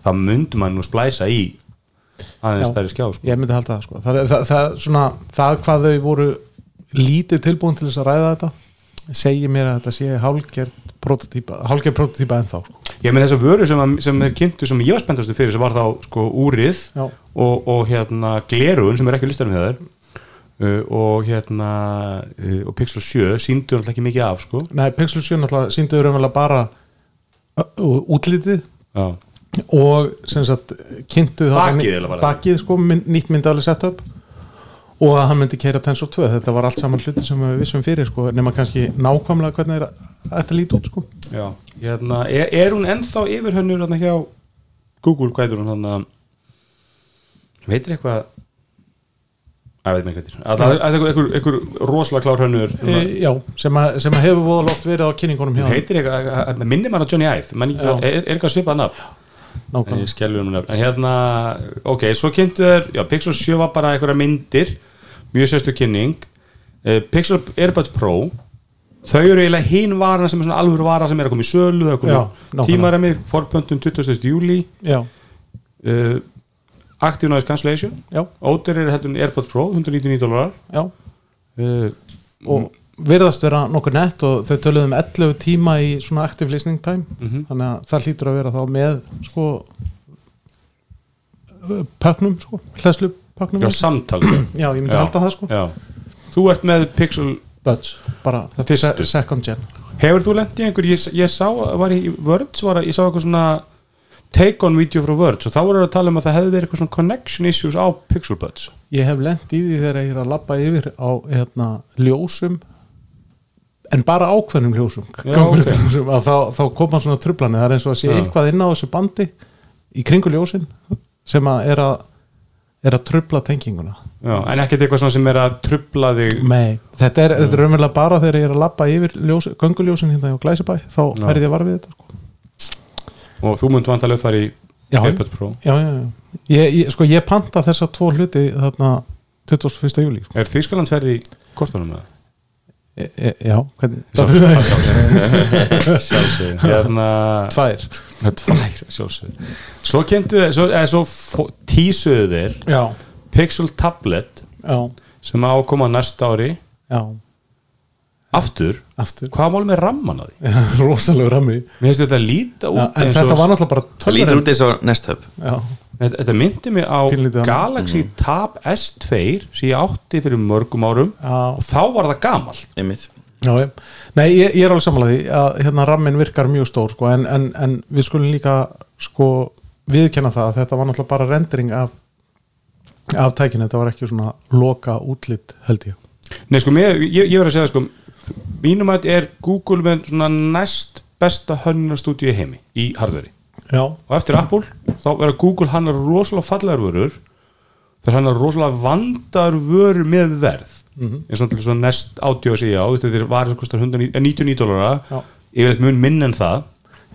Speaker 2: það myndi maður nú splæsa í aðeins
Speaker 4: Já.
Speaker 2: stærri skjá sko.
Speaker 4: ég myndi halda það, sko. það, það, það, svona, það hvað þau voru lítið tilbúin til þess að ræða þetta segir mér að þetta sé hálgir prototýpa, hálgir prototýpa ennþá sko.
Speaker 2: ég með þessa vöru sem, að- sem þeir kynntu sem ég var spenntastu fyrir sem var þá sko úrið
Speaker 4: Já.
Speaker 2: og, og hérna glerun sem er ekki listanum hjá þær uh, og hérna uh, og Pixel 7 síndu náttúrulega ekki mikið af sko
Speaker 4: Nei, Pixel 7 náttúrulega síndu raunverulega bara ö, ö, útlitið
Speaker 2: já,
Speaker 4: og sem sagt kynntu það-
Speaker 2: Bakið eiginlega bara.
Speaker 4: bakið sko, mynd, nýtt myndafli setup og að hann myndi keira Tensor 2 þetta var allt saman hluti sem við vissum fyrir sko, nema kannski nákvæmlega hvernig er þetta lít út sko.
Speaker 2: já. Hérna, er, er hún ennþá yfir hönnur hérna hjá Google, hvað heitir hún hann að veitir eitthvað að veit mér hvað heitir að það er eitthvað, eitthvað rosalega klár hönnur hérna.
Speaker 4: e, já, sem að, sem að hefur voðalega oft verið á kynningunum hjá
Speaker 2: Hún heitir eitthvað, að- að- minnir maður á Johnny Ive man ekki,
Speaker 4: Já.
Speaker 2: er, er eitthvað svipað nafn En ég
Speaker 4: nákvæmlega
Speaker 2: skellu um nöfn En hérna, ok, svo kynntu þér Já, Pixel 7 var bara einhverja myndir Mjög sérstu kynning uh, Pixel Airbuds Pro Þau eru eiginlega hinn varana sem er svona alvöru vara sem er að koma í sölu, það er
Speaker 4: Já,
Speaker 2: komið
Speaker 4: nákvæmlega.
Speaker 2: tímarami, forpöntum 20. júli
Speaker 4: já,
Speaker 2: uh, Active Noise Cancellation
Speaker 4: já,
Speaker 2: Óter er heldur en Airpods Pro, 199 dólarar
Speaker 4: já
Speaker 2: uh,
Speaker 4: og virðast vera nokkur nett og þau töluðum 11 tíma í svona active listening time þannig að það hlýtur að vera þá með sko pöknum sko, hlæslu pöknum
Speaker 2: Já, samtal sko.
Speaker 4: Já, ég myndi
Speaker 2: Já.
Speaker 4: halda það sko
Speaker 2: Já. Þú ert með Pixel
Speaker 4: Buds, bara
Speaker 2: Það fyrstu.
Speaker 4: se- second gen
Speaker 2: Hefur þú lendið einhver, ég, ég sá var í Words, var, ég sá eitthvað svona take on video frá Words og þá voru að tala um að það hefði verið eitthvað svona connection issues á Pixelbuds
Speaker 4: Ég hef lent í því þegar ég er að labba yfir á hérna, ljósum en bara ákveðnum ljósum,
Speaker 2: Já,
Speaker 4: gömlu
Speaker 2: ok.
Speaker 4: ljósum að þá, þá koma svona trublanir, það er eins og að sé
Speaker 2: Já.
Speaker 4: eitthvað inn á þessu bandi í kringu ljósin sem að er að er að trubla tenginguna
Speaker 2: Já, en ekkert eitthvað svona sem er að trubla þig
Speaker 4: Nei, þetta er,
Speaker 2: Mm.
Speaker 4: þetta er raunverulega bara þegar ég er að labba yfir ljós, gönguljósin hérna á Glæsibæ þá
Speaker 2: Já.
Speaker 4: verði ég var við þetta sko.
Speaker 2: og þú munt vantalega fara í
Speaker 4: Já.
Speaker 2: Airpods Pro
Speaker 4: Já, já, já, ég, ég, sko, ég panta þessa tvo hluti þarna 21. júli sko.
Speaker 2: Er Þýskalandsferði í kortunum með það?
Speaker 4: E, e, já, hvernig
Speaker 2: Sjálfsögur Hérna
Speaker 4: Tvær
Speaker 2: Tvær, sjálfsögur Svo kynntu þeir, svo, eða svo fó- tísuðu þeir
Speaker 4: Já,
Speaker 2: Pixel Tablet
Speaker 4: já,
Speaker 2: sem á að koma næsta ári
Speaker 4: já,
Speaker 2: aftur,
Speaker 4: aftur
Speaker 2: hvað mál með ramman að því?
Speaker 4: rosalegu rammi
Speaker 2: Mér finnst þetta líta út
Speaker 4: já, en þetta var náttúrulega bara
Speaker 3: það lítur
Speaker 4: tölvun
Speaker 3: út eins og Nest Hub
Speaker 4: já,
Speaker 2: Þetta, þetta myndi mig á
Speaker 4: Pínlítið annað. Mm.
Speaker 2: Galaxy Tab S2 sem ég átti fyrir mörgum árum
Speaker 4: Já.
Speaker 2: og þá var það gamalt
Speaker 3: einmitt
Speaker 4: já, já. nei, ég, ég er alveg sammála því að hérna rammin virkar mjög stór sko, en, en, en við skulum líka sko viðkenna það að þetta var náttúrulega bara rendering af af tækinu, þetta var ekki svona loka útlit held ég
Speaker 2: Nei, sko, mér, ég, ég verið að segja sko, mínum að er Google með svona næst besta hönnunarstúdíu í heimi í hardveri
Speaker 4: já,
Speaker 2: og eftir
Speaker 4: Mm.
Speaker 2: Apple þá verður Google hannar rosalega fallegar vörur þegar hannar rosalega vandar vörur með verð
Speaker 4: Mhm.
Speaker 2: eins og til svona næst átjóð að segja á þetta er varið sem kostar 100 eh, 99
Speaker 4: Já.
Speaker 2: dólara yfirleitt mun minn en það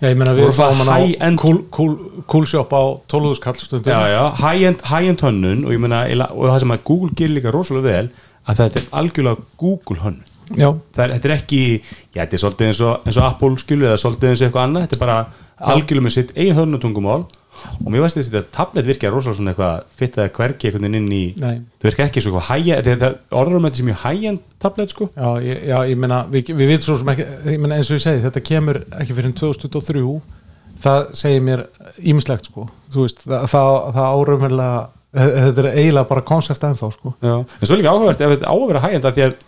Speaker 4: já ég meina
Speaker 2: Voru
Speaker 4: við
Speaker 2: það
Speaker 4: fáum hana
Speaker 2: high
Speaker 4: á
Speaker 2: end-
Speaker 4: cool- cool- cool shop á 12.000 kallstundum
Speaker 2: já, já, high-end high hönnun og, ég meina, eiginlega- og það sem að Google gerir líka rosalega vel að þetta er algjörlega Google hönnun
Speaker 4: já.
Speaker 2: það er, þetta er ekki já, þetta er svolítið eins og, eins og Apple skilu eða svolítið eins og eitthvað annað, þetta er bara algjörlega með sitt eigin hönnutungumál og mér veist þetta að tablet virkja rosalega svona eitthvað fitt að hverki einhvern veginn inn í
Speaker 4: Nei.
Speaker 2: það virka ekki svo eitthvað hæja, þetta, þetta orður um þetta sem mjög hæjend tablet sko
Speaker 4: Já, ég, já, ég meina, við, við vitum svo sem ekki, ég meina eins og ég segi, þetta kemur ekki fyrir 2023, það segir mér ímislegt, sko, þú veist, það, það, það árumverlega, þetta er eiginlega bara konsept ennþá, sko.
Speaker 2: já. en svo er líka áhugavert ef þetta á að vera hæjend af því að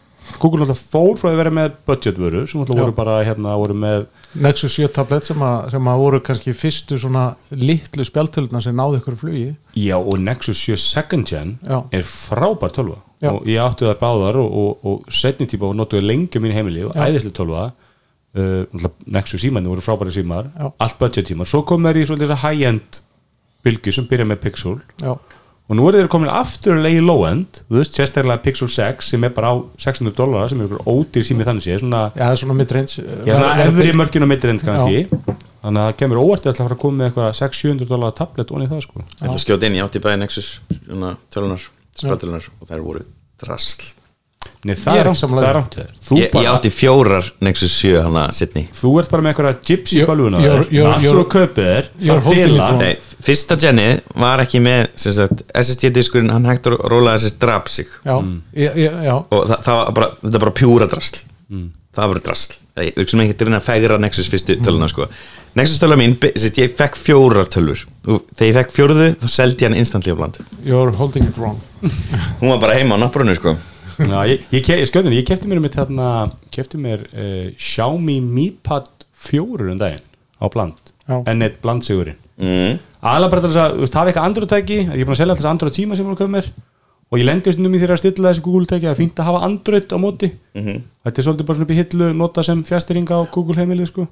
Speaker 2: Google náttúrulega fór frá að vera með budgetvöru sem náttúrulega
Speaker 4: Já.
Speaker 2: voru bara hérna, voru með
Speaker 4: Nexus 7 tablet sem að, sem að voru kannski fyrstu svona litlu spjaltöluna sem náðu ykkur flugi,
Speaker 2: já og Nexus 7 second gen
Speaker 4: Já.
Speaker 2: er frábær tölva
Speaker 4: Já.
Speaker 2: og ég átti það báðar og, og, og setni típa og notuði lengi á mínu heimili og
Speaker 4: Já.
Speaker 2: æðislega tölva uh, náttúrulega Nexus símæni voru frábæri símar
Speaker 4: Já.
Speaker 2: allt budget símar, svo kom þær í svolítið þessa high-end bylgu sem byrja með Pixel
Speaker 4: já,
Speaker 2: og nú eru þeir komin aftur leiði low-end þú veist, sérstaklega Pixel 6 sem er bara á 600 dollara sem er ykkur ódýr sími þannig sé svona,
Speaker 4: já, það er svona eh, midrange.
Speaker 2: ég er svona
Speaker 4: verður-
Speaker 2: efri mörgin og midrend kannski þannig að það kemur óvart að það fara að koma með eitthvað 600-700 dollara tablet onni það sko
Speaker 3: Ég ætla að skjóta inn, ég átti bæði Nexus svona, tölunar, spjaltölunar og þær voru drasl
Speaker 2: Nei, það
Speaker 4: Ég er
Speaker 2: er
Speaker 4: ekki
Speaker 2: rangt,
Speaker 4: sammála
Speaker 2: það
Speaker 4: því.
Speaker 2: er rangt hjá þér. Þú
Speaker 3: ég, ég
Speaker 2: bara-
Speaker 3: átti fjórar Nexus 7 hana setni
Speaker 2: Þú ert bara með einhverja gypsy
Speaker 4: You're-
Speaker 2: bölvuna
Speaker 4: you're- you're-
Speaker 2: Allt svo
Speaker 4: you're-
Speaker 2: kaupið er
Speaker 4: you're holding it wrong.
Speaker 3: Nei, fyrsta genið var ekki með sem sagt, SST diskurinn, hann hægt að róla þessi drap sig
Speaker 4: Já,
Speaker 2: Mm.
Speaker 4: ég, ég, já,
Speaker 3: og það, það var bara, þetta var bara pjúra drasl
Speaker 4: Mm.
Speaker 3: það var bara drasl ég er ekki að reyna að fegra Nexus fyrstu
Speaker 4: Mm.
Speaker 3: töluna sko. Nexus töluna mín, be- sem sagt, ég fekk fjórar tölur og þegar ég fekk fjóruðu þá seldi ég hann instantlega bland
Speaker 4: you're holding it wrong.
Speaker 3: hún var bara heima á náttbrunni sko.
Speaker 2: Já, ég, ég, ke- ég skjöðin, ég kefti mér um þarna kefti mér uh, Xiaomi Mi Pad 4 um daginn á bland,
Speaker 4: Já.
Speaker 2: enn eitt blandsigurinn
Speaker 3: mm.
Speaker 2: aðalega bara til þess að, þú veist, hafa eitthvað androtæki ég er búin að selja þess androt tíma sem hún komir og ég lendi stundum í þeirra að stilla þessi Google tæki að fínt að hafa androt á móti þetta er svolítið bara svona upp í hillu nota sem fjastýringa á Google heimilið sko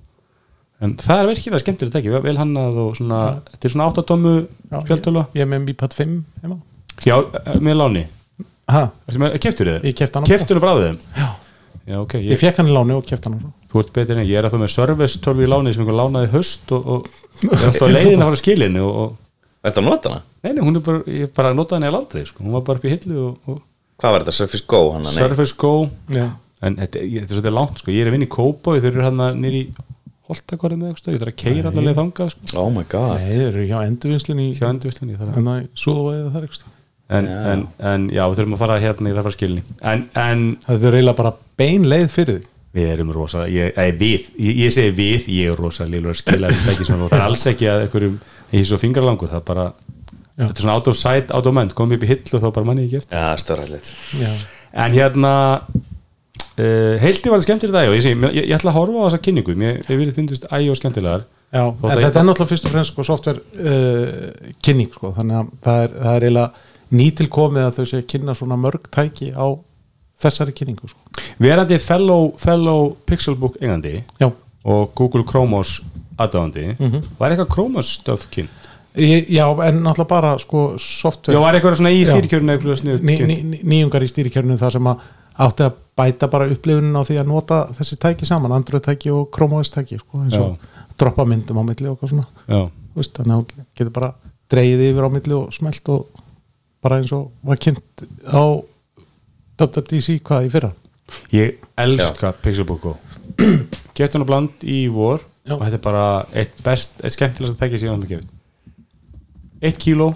Speaker 2: en það er virkilega skemmtilega tæki, vel hannað og svona, þetta er svona áttatómu
Speaker 4: Já,
Speaker 2: spjaltölu
Speaker 4: Ég, ég er með MiPad 5 heima.
Speaker 2: Já, eh, með láni
Speaker 4: Ha,
Speaker 2: Keftur þið?
Speaker 4: Ég keypti hann á-
Speaker 2: Keftur þið bráðið þeim?
Speaker 4: já,
Speaker 2: Já, ok
Speaker 4: ég
Speaker 2: ég,
Speaker 4: fekk hann í láni og kefti hann á svo.
Speaker 2: Þú ert betur en ég er að það með service tölvi í láni sem einhver lánaði í haust og, og er alltaf á leiðin að fara skilin og, og
Speaker 3: Ertu að nota hana?
Speaker 2: Nei, nei, hún er bara, ég bara notaði henni að landri sko. hún var bara upp í hillu og, og
Speaker 3: Hvað var þetta? Surface Go hana? Nei.
Speaker 2: Surface Go
Speaker 4: Já.
Speaker 2: en þetta, ég, þetta er svolítið langt sko. ég er að vinna í Kópa og þeir eru hérna hann nýri holtakorið með eitthvað, ég þarf að keira allavega þangað sko.
Speaker 3: Oh my god
Speaker 4: Nei, þeir eru hjá endurvinnslinni í
Speaker 2: hjá endurvislinni þar
Speaker 4: en það er súðavæðið það er ekki sko. stað.
Speaker 2: en, en, en já, við þurfum að fara hérna ég þarf að fara skilni en, en
Speaker 4: það er eiginlega bara bein leið fyrir því
Speaker 2: Við erum rosa, ég, ei, við, ég, ég segi við, ég er rosa lílur að skila þessu tæki svona og það er alls ekki að einhverjum, ég er svo fingralangur, það er bara,
Speaker 4: Já.
Speaker 2: þetta er svona out of sight, out of mind, komum upp í hill og þá bara manni ekki eftir.
Speaker 3: Já, stöðræðilegt
Speaker 4: já,
Speaker 2: En hérna, uh, heilti var það skemmtir í dag og ég segi, ég, ég ætla að horfa á þessa kynningu, mér ég vil finnist æg og skemmtilegar.
Speaker 4: en
Speaker 2: Þótt að ég-
Speaker 4: þetta er náttúrulega fyrst og fremst sko, software uh, kynning sko. þannig að það er, það er eiginlega nýtilkomið að þau sé að kynna svona mörg tæki á þessari kynningu sko.
Speaker 2: Verandi fellow, fellow Pixelbook eigandi
Speaker 4: já,
Speaker 2: og Google Chromos aðdáðandi,
Speaker 4: Mhm.
Speaker 2: var eitthvað Chromos stöf kynnt?
Speaker 4: Ég- já en náttúrulega bara sko, software
Speaker 2: Já, var eitthvað svona í
Speaker 4: Já.
Speaker 2: stýrkjörinu eitthvað sniðu
Speaker 4: ný, ný, ný, nýjungar í stýrikjörnum þar sem að átti að bæta bara upplifunin á því að nota þessi tæki saman, Android tæki og Chrome OS tæki sko, eins og droppa myndum á milli og eitthvað svona
Speaker 2: Já.
Speaker 4: Þú veist, þannig að hún getur bara dreigið yfir á milli og smelt og bara eins og var kynnt á WWDC hvað í fyrra
Speaker 2: Ég elska Pixelbook Go Gett hún á bland í vor
Speaker 4: Já.
Speaker 2: og þetta er bara eitt best eitt skemmtilegast að tekja síðan hann að gefa eitt kíló,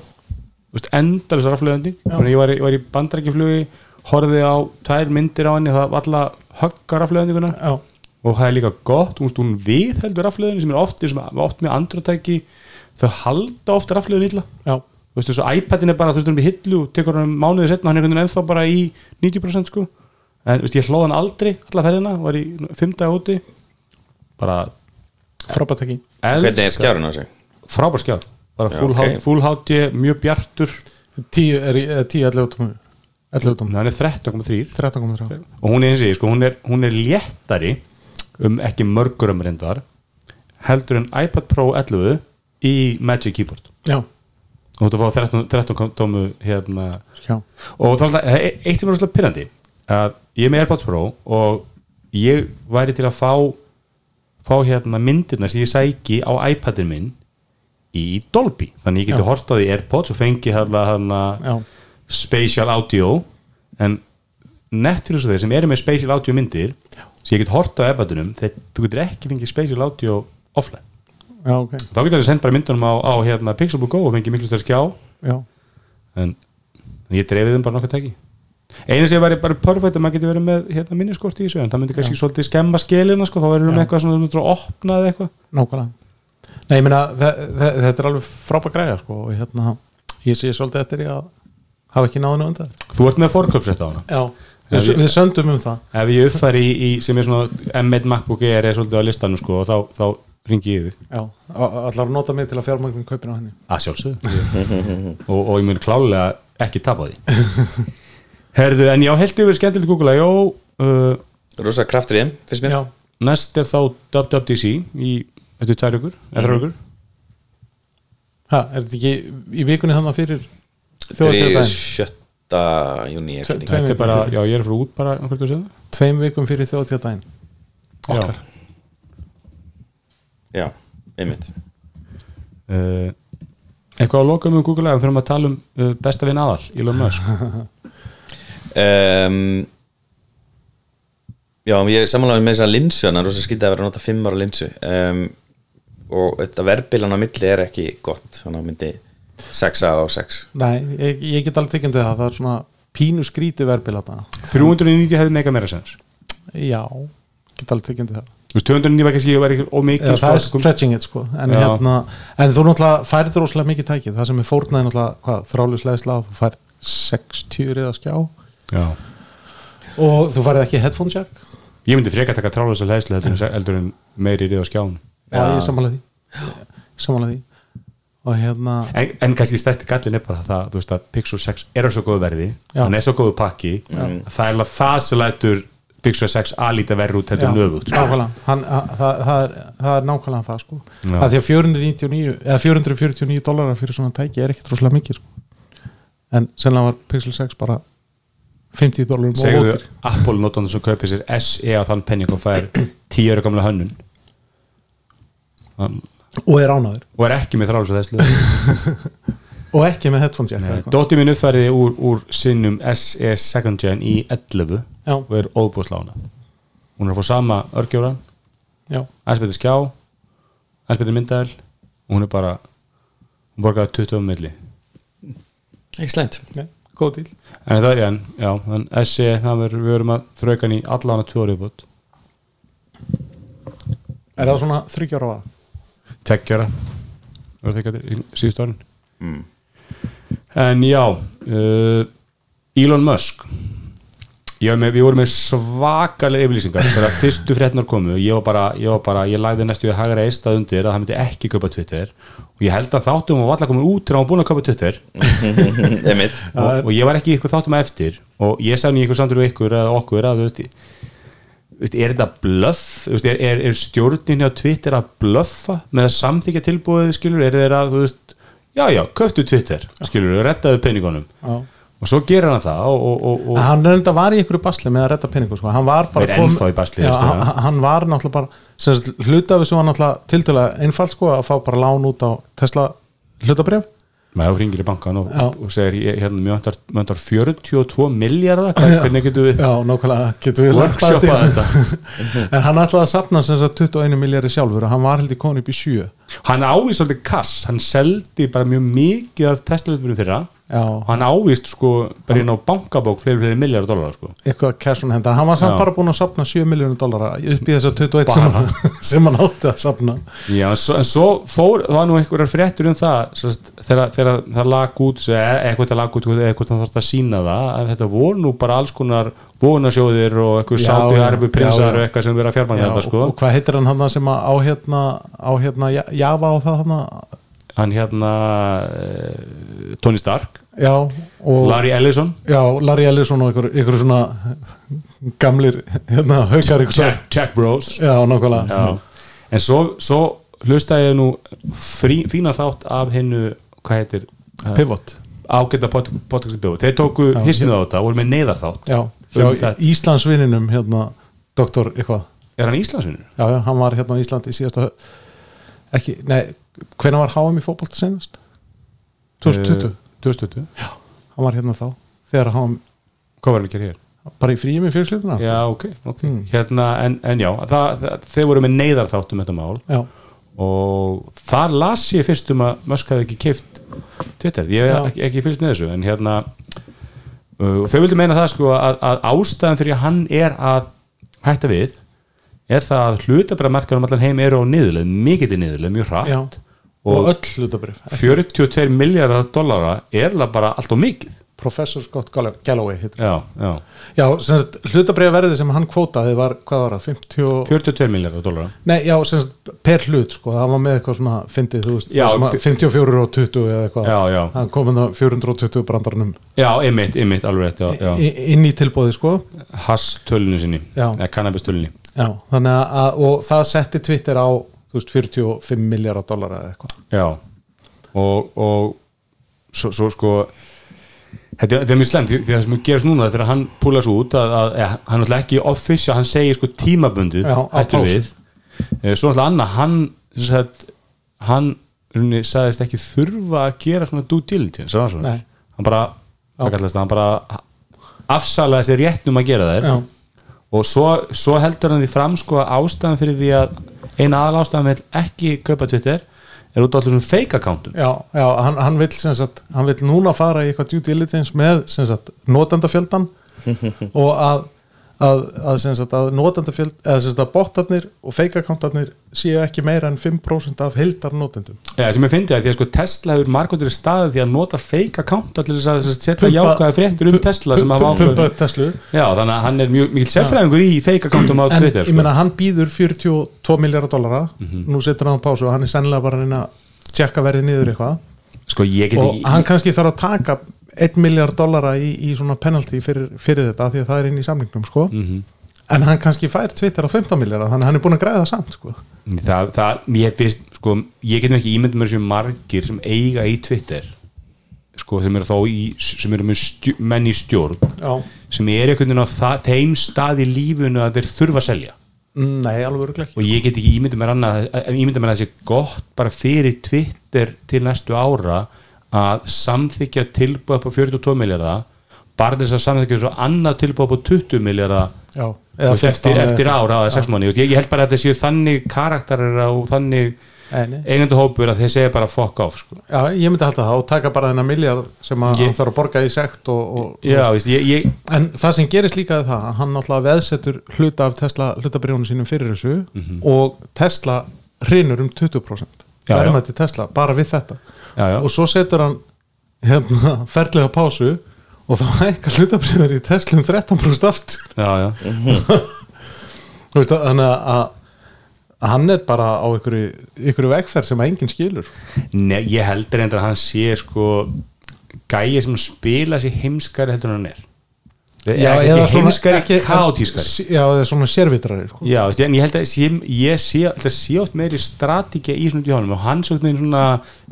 Speaker 2: endalins rafleðandi þannig að ég var, í- ég var í bandarækjaflugi horfið á tvær myndir á henni það var alltaf höggar aflöðninguna
Speaker 4: já,
Speaker 2: og það er líka gott, hún, hún viðheldur rafleðinu sem er oft, sem er oft með androtæki þau halda oft rafleðinu illa
Speaker 4: já,
Speaker 2: þú veist þessu iPadin er bara, þú veist hún er í hillu og tekur hann mánuðið setna, hann er einhvern veginn ennþá bara í 90% sko, en þú veist ég hlóð hann aldrei alla ferðina, var í fimmta úti bara
Speaker 4: frábært ekki
Speaker 3: Hvernig er skjárun á sig?
Speaker 2: frábær skjár, bara
Speaker 3: Já,
Speaker 2: full,
Speaker 3: ok.
Speaker 2: okay. full hátti mjög bjartur,
Speaker 4: tíu, er, í- eh, tíu 11 tómur 11 tómur,
Speaker 2: hann er 13,3
Speaker 4: 13,3
Speaker 2: og hún er eins og ég, sko, hún er, hún er léttari um ekki mörgur um reyndar heldur en iPad Pro 11 í Magic Keyboard
Speaker 4: já,
Speaker 2: og þú ert að fá 13, 13 tómu hérna
Speaker 4: já,
Speaker 2: og það er alltaf, e- eitt sem er rosalega pyrrandi að ég er með AirPods Pro og ég væri til að fá fá hérna myndirna sem ég sæki á iPadin minn í Dolby, þannig ég geti
Speaker 4: Já.
Speaker 2: hort á því AirPods og fengi hérna, hérna
Speaker 4: já,
Speaker 2: spatial audio en nettur þessu þeir sem eru með spatial audio myndir sem ég get hort á iPadinum þegar þú getur ekki fengið spatial audio offline,
Speaker 4: já, ok
Speaker 2: þá getur þessi send bara myndunum á, á hérna, Pixelbook Go og fengið miklu stær skjá
Speaker 4: já,
Speaker 2: en, en ég dreifði þeim bara nokkuð tæki einu sem væri bara perfect að maður geti verið með hérna, minniskort í þessu en það myndi kannski svolítið skemma skilina sko, þá verður um
Speaker 4: Já.
Speaker 2: eitthvað svona þú myndir að opna eða eitthvað
Speaker 4: nákvæmlega nei, ég meina, þe- þe- þetta er alveg frábært græja sko, og hérna, ég sé svolítið eftir ég að hafa ekki náðinu undan
Speaker 2: þú ert með forköpsrétt á hana
Speaker 4: já, við, við söndum um það
Speaker 2: ef ég uppfæri í, í sem er svona M1 MacBook Air er svolítið á listanum sko, og þá, þá ringi ég í þig
Speaker 4: já, allar að nota mig til að fjármagnum kaupin á henni
Speaker 2: að sjálfsögðu og, og ég mun klálega ekki tapa því herðu en já, held yfir skemmtilegt Google að uh,
Speaker 3: Rosa kraftriðum, finnst mér
Speaker 4: já,
Speaker 2: næst er þá WWDC í, eftir tvær ykkur, eftir ykkur
Speaker 4: ha, er þetta ekki í vikunni þannig fyrir
Speaker 3: Þegar
Speaker 4: þjóðatíðardaginn
Speaker 3: 7. júni
Speaker 4: hérna Tve-
Speaker 3: Þetta
Speaker 4: tveim
Speaker 2: Þetta er
Speaker 4: vikum
Speaker 2: bara,
Speaker 4: fyrir-
Speaker 2: já ég er frá út bara einhvern veginn
Speaker 4: tveim vikum fyrir þjóðatíðardaginn
Speaker 2: að segja
Speaker 3: Já, einmitt
Speaker 2: það Eh, Eitthvað að loka um Google að við fyrir að tala um uh, besta vinn aðal, Elon Musk
Speaker 3: um, Já, ég samanlega með þess að linsu hann er rosa skytið að vera að nota 5 ára linsu um, og þetta verðbilan á milli er ekki gott þannig að myndi 6 á 6
Speaker 4: nei, ég, ég get alveg tekjandi það það er svona pínu skríti verbil að
Speaker 2: 390 hefði mega meira sens
Speaker 4: já, get alveg tekjandi það
Speaker 2: Þú veist, 290 var kannski, ég var ekki ómikið
Speaker 4: Eða, það er stretching it sko en,
Speaker 2: Já.
Speaker 4: hérna, en þú náttúrulega færið róslega mikið tækið það sem er fórnaði náttúrulega hvað, þrálusleðislega þú færið 60 reyða skjá
Speaker 2: Já
Speaker 4: og þú færið ekki headphone jack
Speaker 2: Ég myndi frekar taka trálega þess að hlæðslu heldur, en- heldur en meiri rið á skjáun
Speaker 4: já, ég samanlega því Ég sammála því og hérna,
Speaker 2: en, en kannski stærsti gallin er bara það þú veist að Pixel 6 er á svo góðu verði
Speaker 4: Já.
Speaker 2: hann er svo góðu pakki það er alveg það sem lætur Pixel 6 alíta verður út heldur
Speaker 4: Já,
Speaker 2: nöfugt sko.
Speaker 4: nákvæmlega, hann, að, það, það, er, það er nákvæmlega það sko
Speaker 2: Já.
Speaker 4: að því að 499, eða 449 dólarar fyrir svona tæki er ekkit rosalega mikið sko. en sennilega var Pixel 6 bara 50 dólarum og
Speaker 2: segðu
Speaker 4: ódýr.
Speaker 2: Apple notandur sem kaupir sér SE á þann penning og fær 10 ára gamla hönnun Hann-
Speaker 4: og er ánaður
Speaker 2: og er ekki með þráls og þessu
Speaker 4: og ekki með headphone jack eða eitthvað.
Speaker 2: Dóti minn uppfæriði úr, úr sinnum SE second gen í 11
Speaker 4: Já.
Speaker 2: og er óbúðslána hún er að fá sama örgjóran
Speaker 4: já,
Speaker 2: aðeins betur skjá aðeins betur myndaðil og hún er bara hún borgaði 20 um milli
Speaker 3: Ekki slæmt
Speaker 4: nei, góð díl
Speaker 2: en það er ég en, já, en SE það verður, við verum að þrauka hann í allan að 2 árið bútt,
Speaker 4: er það svona 30 ára vara?
Speaker 2: tekjara verður þekkað í síðust árin en já uh, Elon Musk ég var með, við vorum með svakalega yfirlýsingar þegar fyrstu fréttnar komu ég var bara, ég, var bara, ég lagði næstu við hagra eistað undir að hann myndi ekki köpa Twitter og ég held að þáttum var allar komin út þegar hann var búin að köpa Twitter
Speaker 3: Einmitt
Speaker 2: og, og ég var ekki í ykkur þáttum að eftir og ég sagði í ykkur samtölu ykkur eða okkur að þú veist þú veist, er þetta blöff Þú veist, er, er, er stjórnin hjá Twitter að blöffa með að samþykja tilbúið skilur, er þeir að þú veist, já já, köftu Twitter skilur, reddaðu peningunum
Speaker 4: Já.
Speaker 2: og svo gerir hann það og, og, og, og
Speaker 4: hann reynda var í einhverju basli með að redda peningu sko. hann var bara
Speaker 2: Er
Speaker 4: kom-
Speaker 2: ennþá í basli,
Speaker 4: já,
Speaker 2: veistu það?
Speaker 4: hann, hann var náttúrulega bara sem sagt, hlutafi sem var náttúrulega tildulega einfalt sko, að fá bara lán út á Tesla hlutabrif
Speaker 2: maður hringir í bankan og,
Speaker 4: Já.
Speaker 2: og segir ég- hérna, mjög andar, mjög andar 42 miljardar hvernig getum við
Speaker 4: já, nákvæmlega getur við
Speaker 2: workshopað
Speaker 4: lagt það til.
Speaker 2: þetta
Speaker 4: en hann ætlaði að safna sem sagt 21 miljardi sjálfur og hann var held í konu upp í 7
Speaker 2: hann ávís svolítið kass, hann seldi bara mjög mikið af Tesla-hlutunum fyrra
Speaker 4: Já.
Speaker 2: og hann ávist sko bara inn á bankabók fleiri fleiri miljardar dólar sko
Speaker 4: eitthvað cash on hand en hann var samt
Speaker 2: Já.
Speaker 4: bara búin að sapna 7 miljónu dólara upp í þessar 21 sem hann, sem hann átti að sapna
Speaker 2: Já, en svo, en svo fór, það var nú einhverjar fréttur um það sérst, þegar, þegar það lag út eða eitthvað það lag út, eða eitthvað það þarf að sína það að þetta voru nú bara alls konar vonasjóðir og eitthvað
Speaker 4: Já,
Speaker 2: sátu
Speaker 4: já,
Speaker 2: arbu
Speaker 4: já,
Speaker 2: prinsar
Speaker 4: já.
Speaker 2: og eitthvað sem verið að fjármanna
Speaker 4: Já,
Speaker 2: þetta sko
Speaker 4: og, og hvað heitir hann hann sem að á hérna, á hérna Ja- Java á það hann
Speaker 2: hann hérna eh, Tony Stark,
Speaker 4: já og
Speaker 2: Larry Ellison
Speaker 4: já, Larry Ellison og ykkur, ykkur svona gamlir hérna haukar ykkur
Speaker 2: Tech, Tech Bros
Speaker 4: já, nákvæmlega
Speaker 2: Já. en svo, svo hlustaði ég nú frí, fína þátt af hennu hvað heitir, eh,
Speaker 4: pivot
Speaker 2: ágæta podcastbjóð þeir tóku
Speaker 4: Já.
Speaker 2: hisnið á þetta, voru með neyðarþátt
Speaker 4: já,
Speaker 2: Um það.
Speaker 4: já Íslandsvinninum hérna, doktor eitthvað
Speaker 2: er hann Íslandsvinnur?
Speaker 4: já, já, hann var hérna á Íslandi í síðasta ekki, nei, hvenær var HM í fótbolta senast? 2020
Speaker 2: Eh, 2020
Speaker 4: hann var hérna þá þegar hann
Speaker 2: Hvað var hann að gera hér?
Speaker 4: bara í fríum í fjölslutina
Speaker 2: Já, ok, ok
Speaker 4: Hmm.
Speaker 2: Hérna, en, en já, það, það, þeir voru með neyðarþátt um þetta mál
Speaker 4: já,
Speaker 2: og þar las ég fyrst um að Musk hafði ekki keift Twitter ég
Speaker 4: Já.
Speaker 2: hef ekki, ekki fylgst með þessu en hérna uh, þau vildu meina það sko að, að ástæðan fyrir að hann er að hætta við er það að hlutabra markarum allan heim eru á niðurleið, mikið í niðurleið, mjög hratt
Speaker 4: já. og,
Speaker 2: og,
Speaker 4: öll hlutabrif
Speaker 2: 42 miljardar dollara er það bara allt og mikið
Speaker 4: Professor Scott Gall- Galloway heitir.
Speaker 2: já, já,
Speaker 4: já, sem sagt, hlutabrifverðið sem hann kvótaði var, hvað var það, 50 og...
Speaker 2: 42 miljardar dollara
Speaker 4: nei, já, sem sagt, per hlut sko, það var með eitthvað svona, fyndið, þú veist
Speaker 2: Já,
Speaker 4: svona
Speaker 2: p-
Speaker 4: 54 og 20 eða eitthvað
Speaker 2: Já, já.
Speaker 4: hann kom hérna inn á 420 brandarnum
Speaker 2: Já, einmitt, einmitt, alveg rétt já, já.
Speaker 4: í- inn í tilbóði, sko
Speaker 2: Hass tölunni sinni,
Speaker 4: Já.
Speaker 2: eða cannabis tölunni
Speaker 4: já, þannig að, að, og það setti Twitter á, þú veist, 45 miljardar dollara eða eitthvað
Speaker 2: Já, og, og svo, svo sko Þetta er, þetta er mjög slemt, því því það sem gerast núna þetta er að hann púlas út að, að, að hann ætla ekki official, hann segir sko tímabundið
Speaker 4: Já, á
Speaker 2: hættur
Speaker 4: pásu.
Speaker 2: við Eh, Svo ætla annað, hann sem sagt, hann runni, sagðist ekki þurfa að gera svona due diligence sagði hann svona.
Speaker 4: Nei.
Speaker 2: hann bara, hvað kallast það, hann bara afsalaði sér réttnum að gera þær
Speaker 4: já,
Speaker 2: og svo, svo heldur hann því fram sko að ástæðan fyrir því að eina aðal ástæðan vil ekki kaupa Twitter er út á allir svona fake accountum
Speaker 4: já, já hann, hann, vill, sem sagt, hann vill núna fara í eitthvað due diligence með sem sagt, notendafjöldan og að að, að, sem sagt, að notendafjöld eða sem sagt, að botarnir og feikakantarnir séu ekki meira en 5% af heildar notendum
Speaker 2: ja, sem ég fyndi að því að sko Tesla hefur margóndur í staði því að nota fake account allir þess að þess að setja
Speaker 4: Pumpa-
Speaker 2: jákvæða fréttur um
Speaker 4: pu-
Speaker 2: Tesla
Speaker 4: pu-
Speaker 2: sem að
Speaker 4: pu-
Speaker 2: ákveður-
Speaker 4: pumpa upp Tesla
Speaker 2: Já, þannig að hann er mjög mikil sérfræðingur í fake accountum á
Speaker 4: en
Speaker 2: Twitter
Speaker 4: ég
Speaker 2: sko. Mhm.
Speaker 4: meina hann býður 42 miljardar dollara nú setur hann á pásu og hann er sennilega bara að reyna að tjekka verðið niður eitthvað
Speaker 2: sko, ég get
Speaker 4: og
Speaker 2: ekki
Speaker 4: hann kannski þarf að taka 1 miljard dollara í, í svona penalty fyrir, fyrir þetta af því að það er inn í samlingnum sko.
Speaker 2: Mhm.
Speaker 4: en hann kannski fær Twitter á 15 miljardar þannig að hann er búin að græða það samt sko.
Speaker 2: það, það, ég, fyrst, sko, ég getum ekki ímyndum mér sem margir sem eiga í Twitter sko, sem eru þá í sem eru með stjú, menn í stjórn
Speaker 4: Já.
Speaker 2: sem er einhvern veginn á það, þeim stað í lífunu að þeir þurfa að selja
Speaker 4: nei, alveg örugglega ekki
Speaker 2: og ég get ekki ímyndið mér annað ímyndið mér að það sé gott bara fyrir Twitter til næstu ára að samþykja tilbúið upp á 42 miljardar bara til þess að samþykja svo annað tilbúið upp á 20 miljardar
Speaker 4: Já, eða
Speaker 2: eftir,
Speaker 4: 15 eða
Speaker 2: eftir
Speaker 4: eitthvað.
Speaker 2: ára eða 6 manni ég, ég held bara að þetta séu þannig karakterir og þannig
Speaker 4: Nei, nei.
Speaker 2: eigendu hópur að þeir segja bara fuck off sko.
Speaker 4: Já, ég myndi halda það og taka bara þennan miljard sem að
Speaker 2: Ég-
Speaker 4: hann þarf að borga í sekt og, og,
Speaker 2: já, veist, ég, ég,
Speaker 4: en það sem gerist líka er það að hann náttúrulega veðsetur hluta af Tesla hlutabrjónu sínum fyrir þessu og Tesla hrinur um 20%
Speaker 2: Mhm. Já, já.
Speaker 4: verðmætti Tesla bara við þetta
Speaker 2: Já, já.
Speaker 4: og svo setur hann hérna, ferlega pásu og þá hækkar hlutabrjóður í Tesla um 13% aftur
Speaker 2: já, já,
Speaker 4: Þú veist, þannig að, að hann er bara á ykkur, ykkur vegferð sem enginn skilur
Speaker 2: Nei, ég held reyndar að hann sé sko gæi sem spila sér heimskari heldur en hann er Já, ekki, heimskari, ekki, kaotískari
Speaker 4: já, eða svona sérvitrari sko.
Speaker 2: Já, veist, en ég held að sé, ég sé, það sé oft meiri strategja í svona djónum og hann svo með svona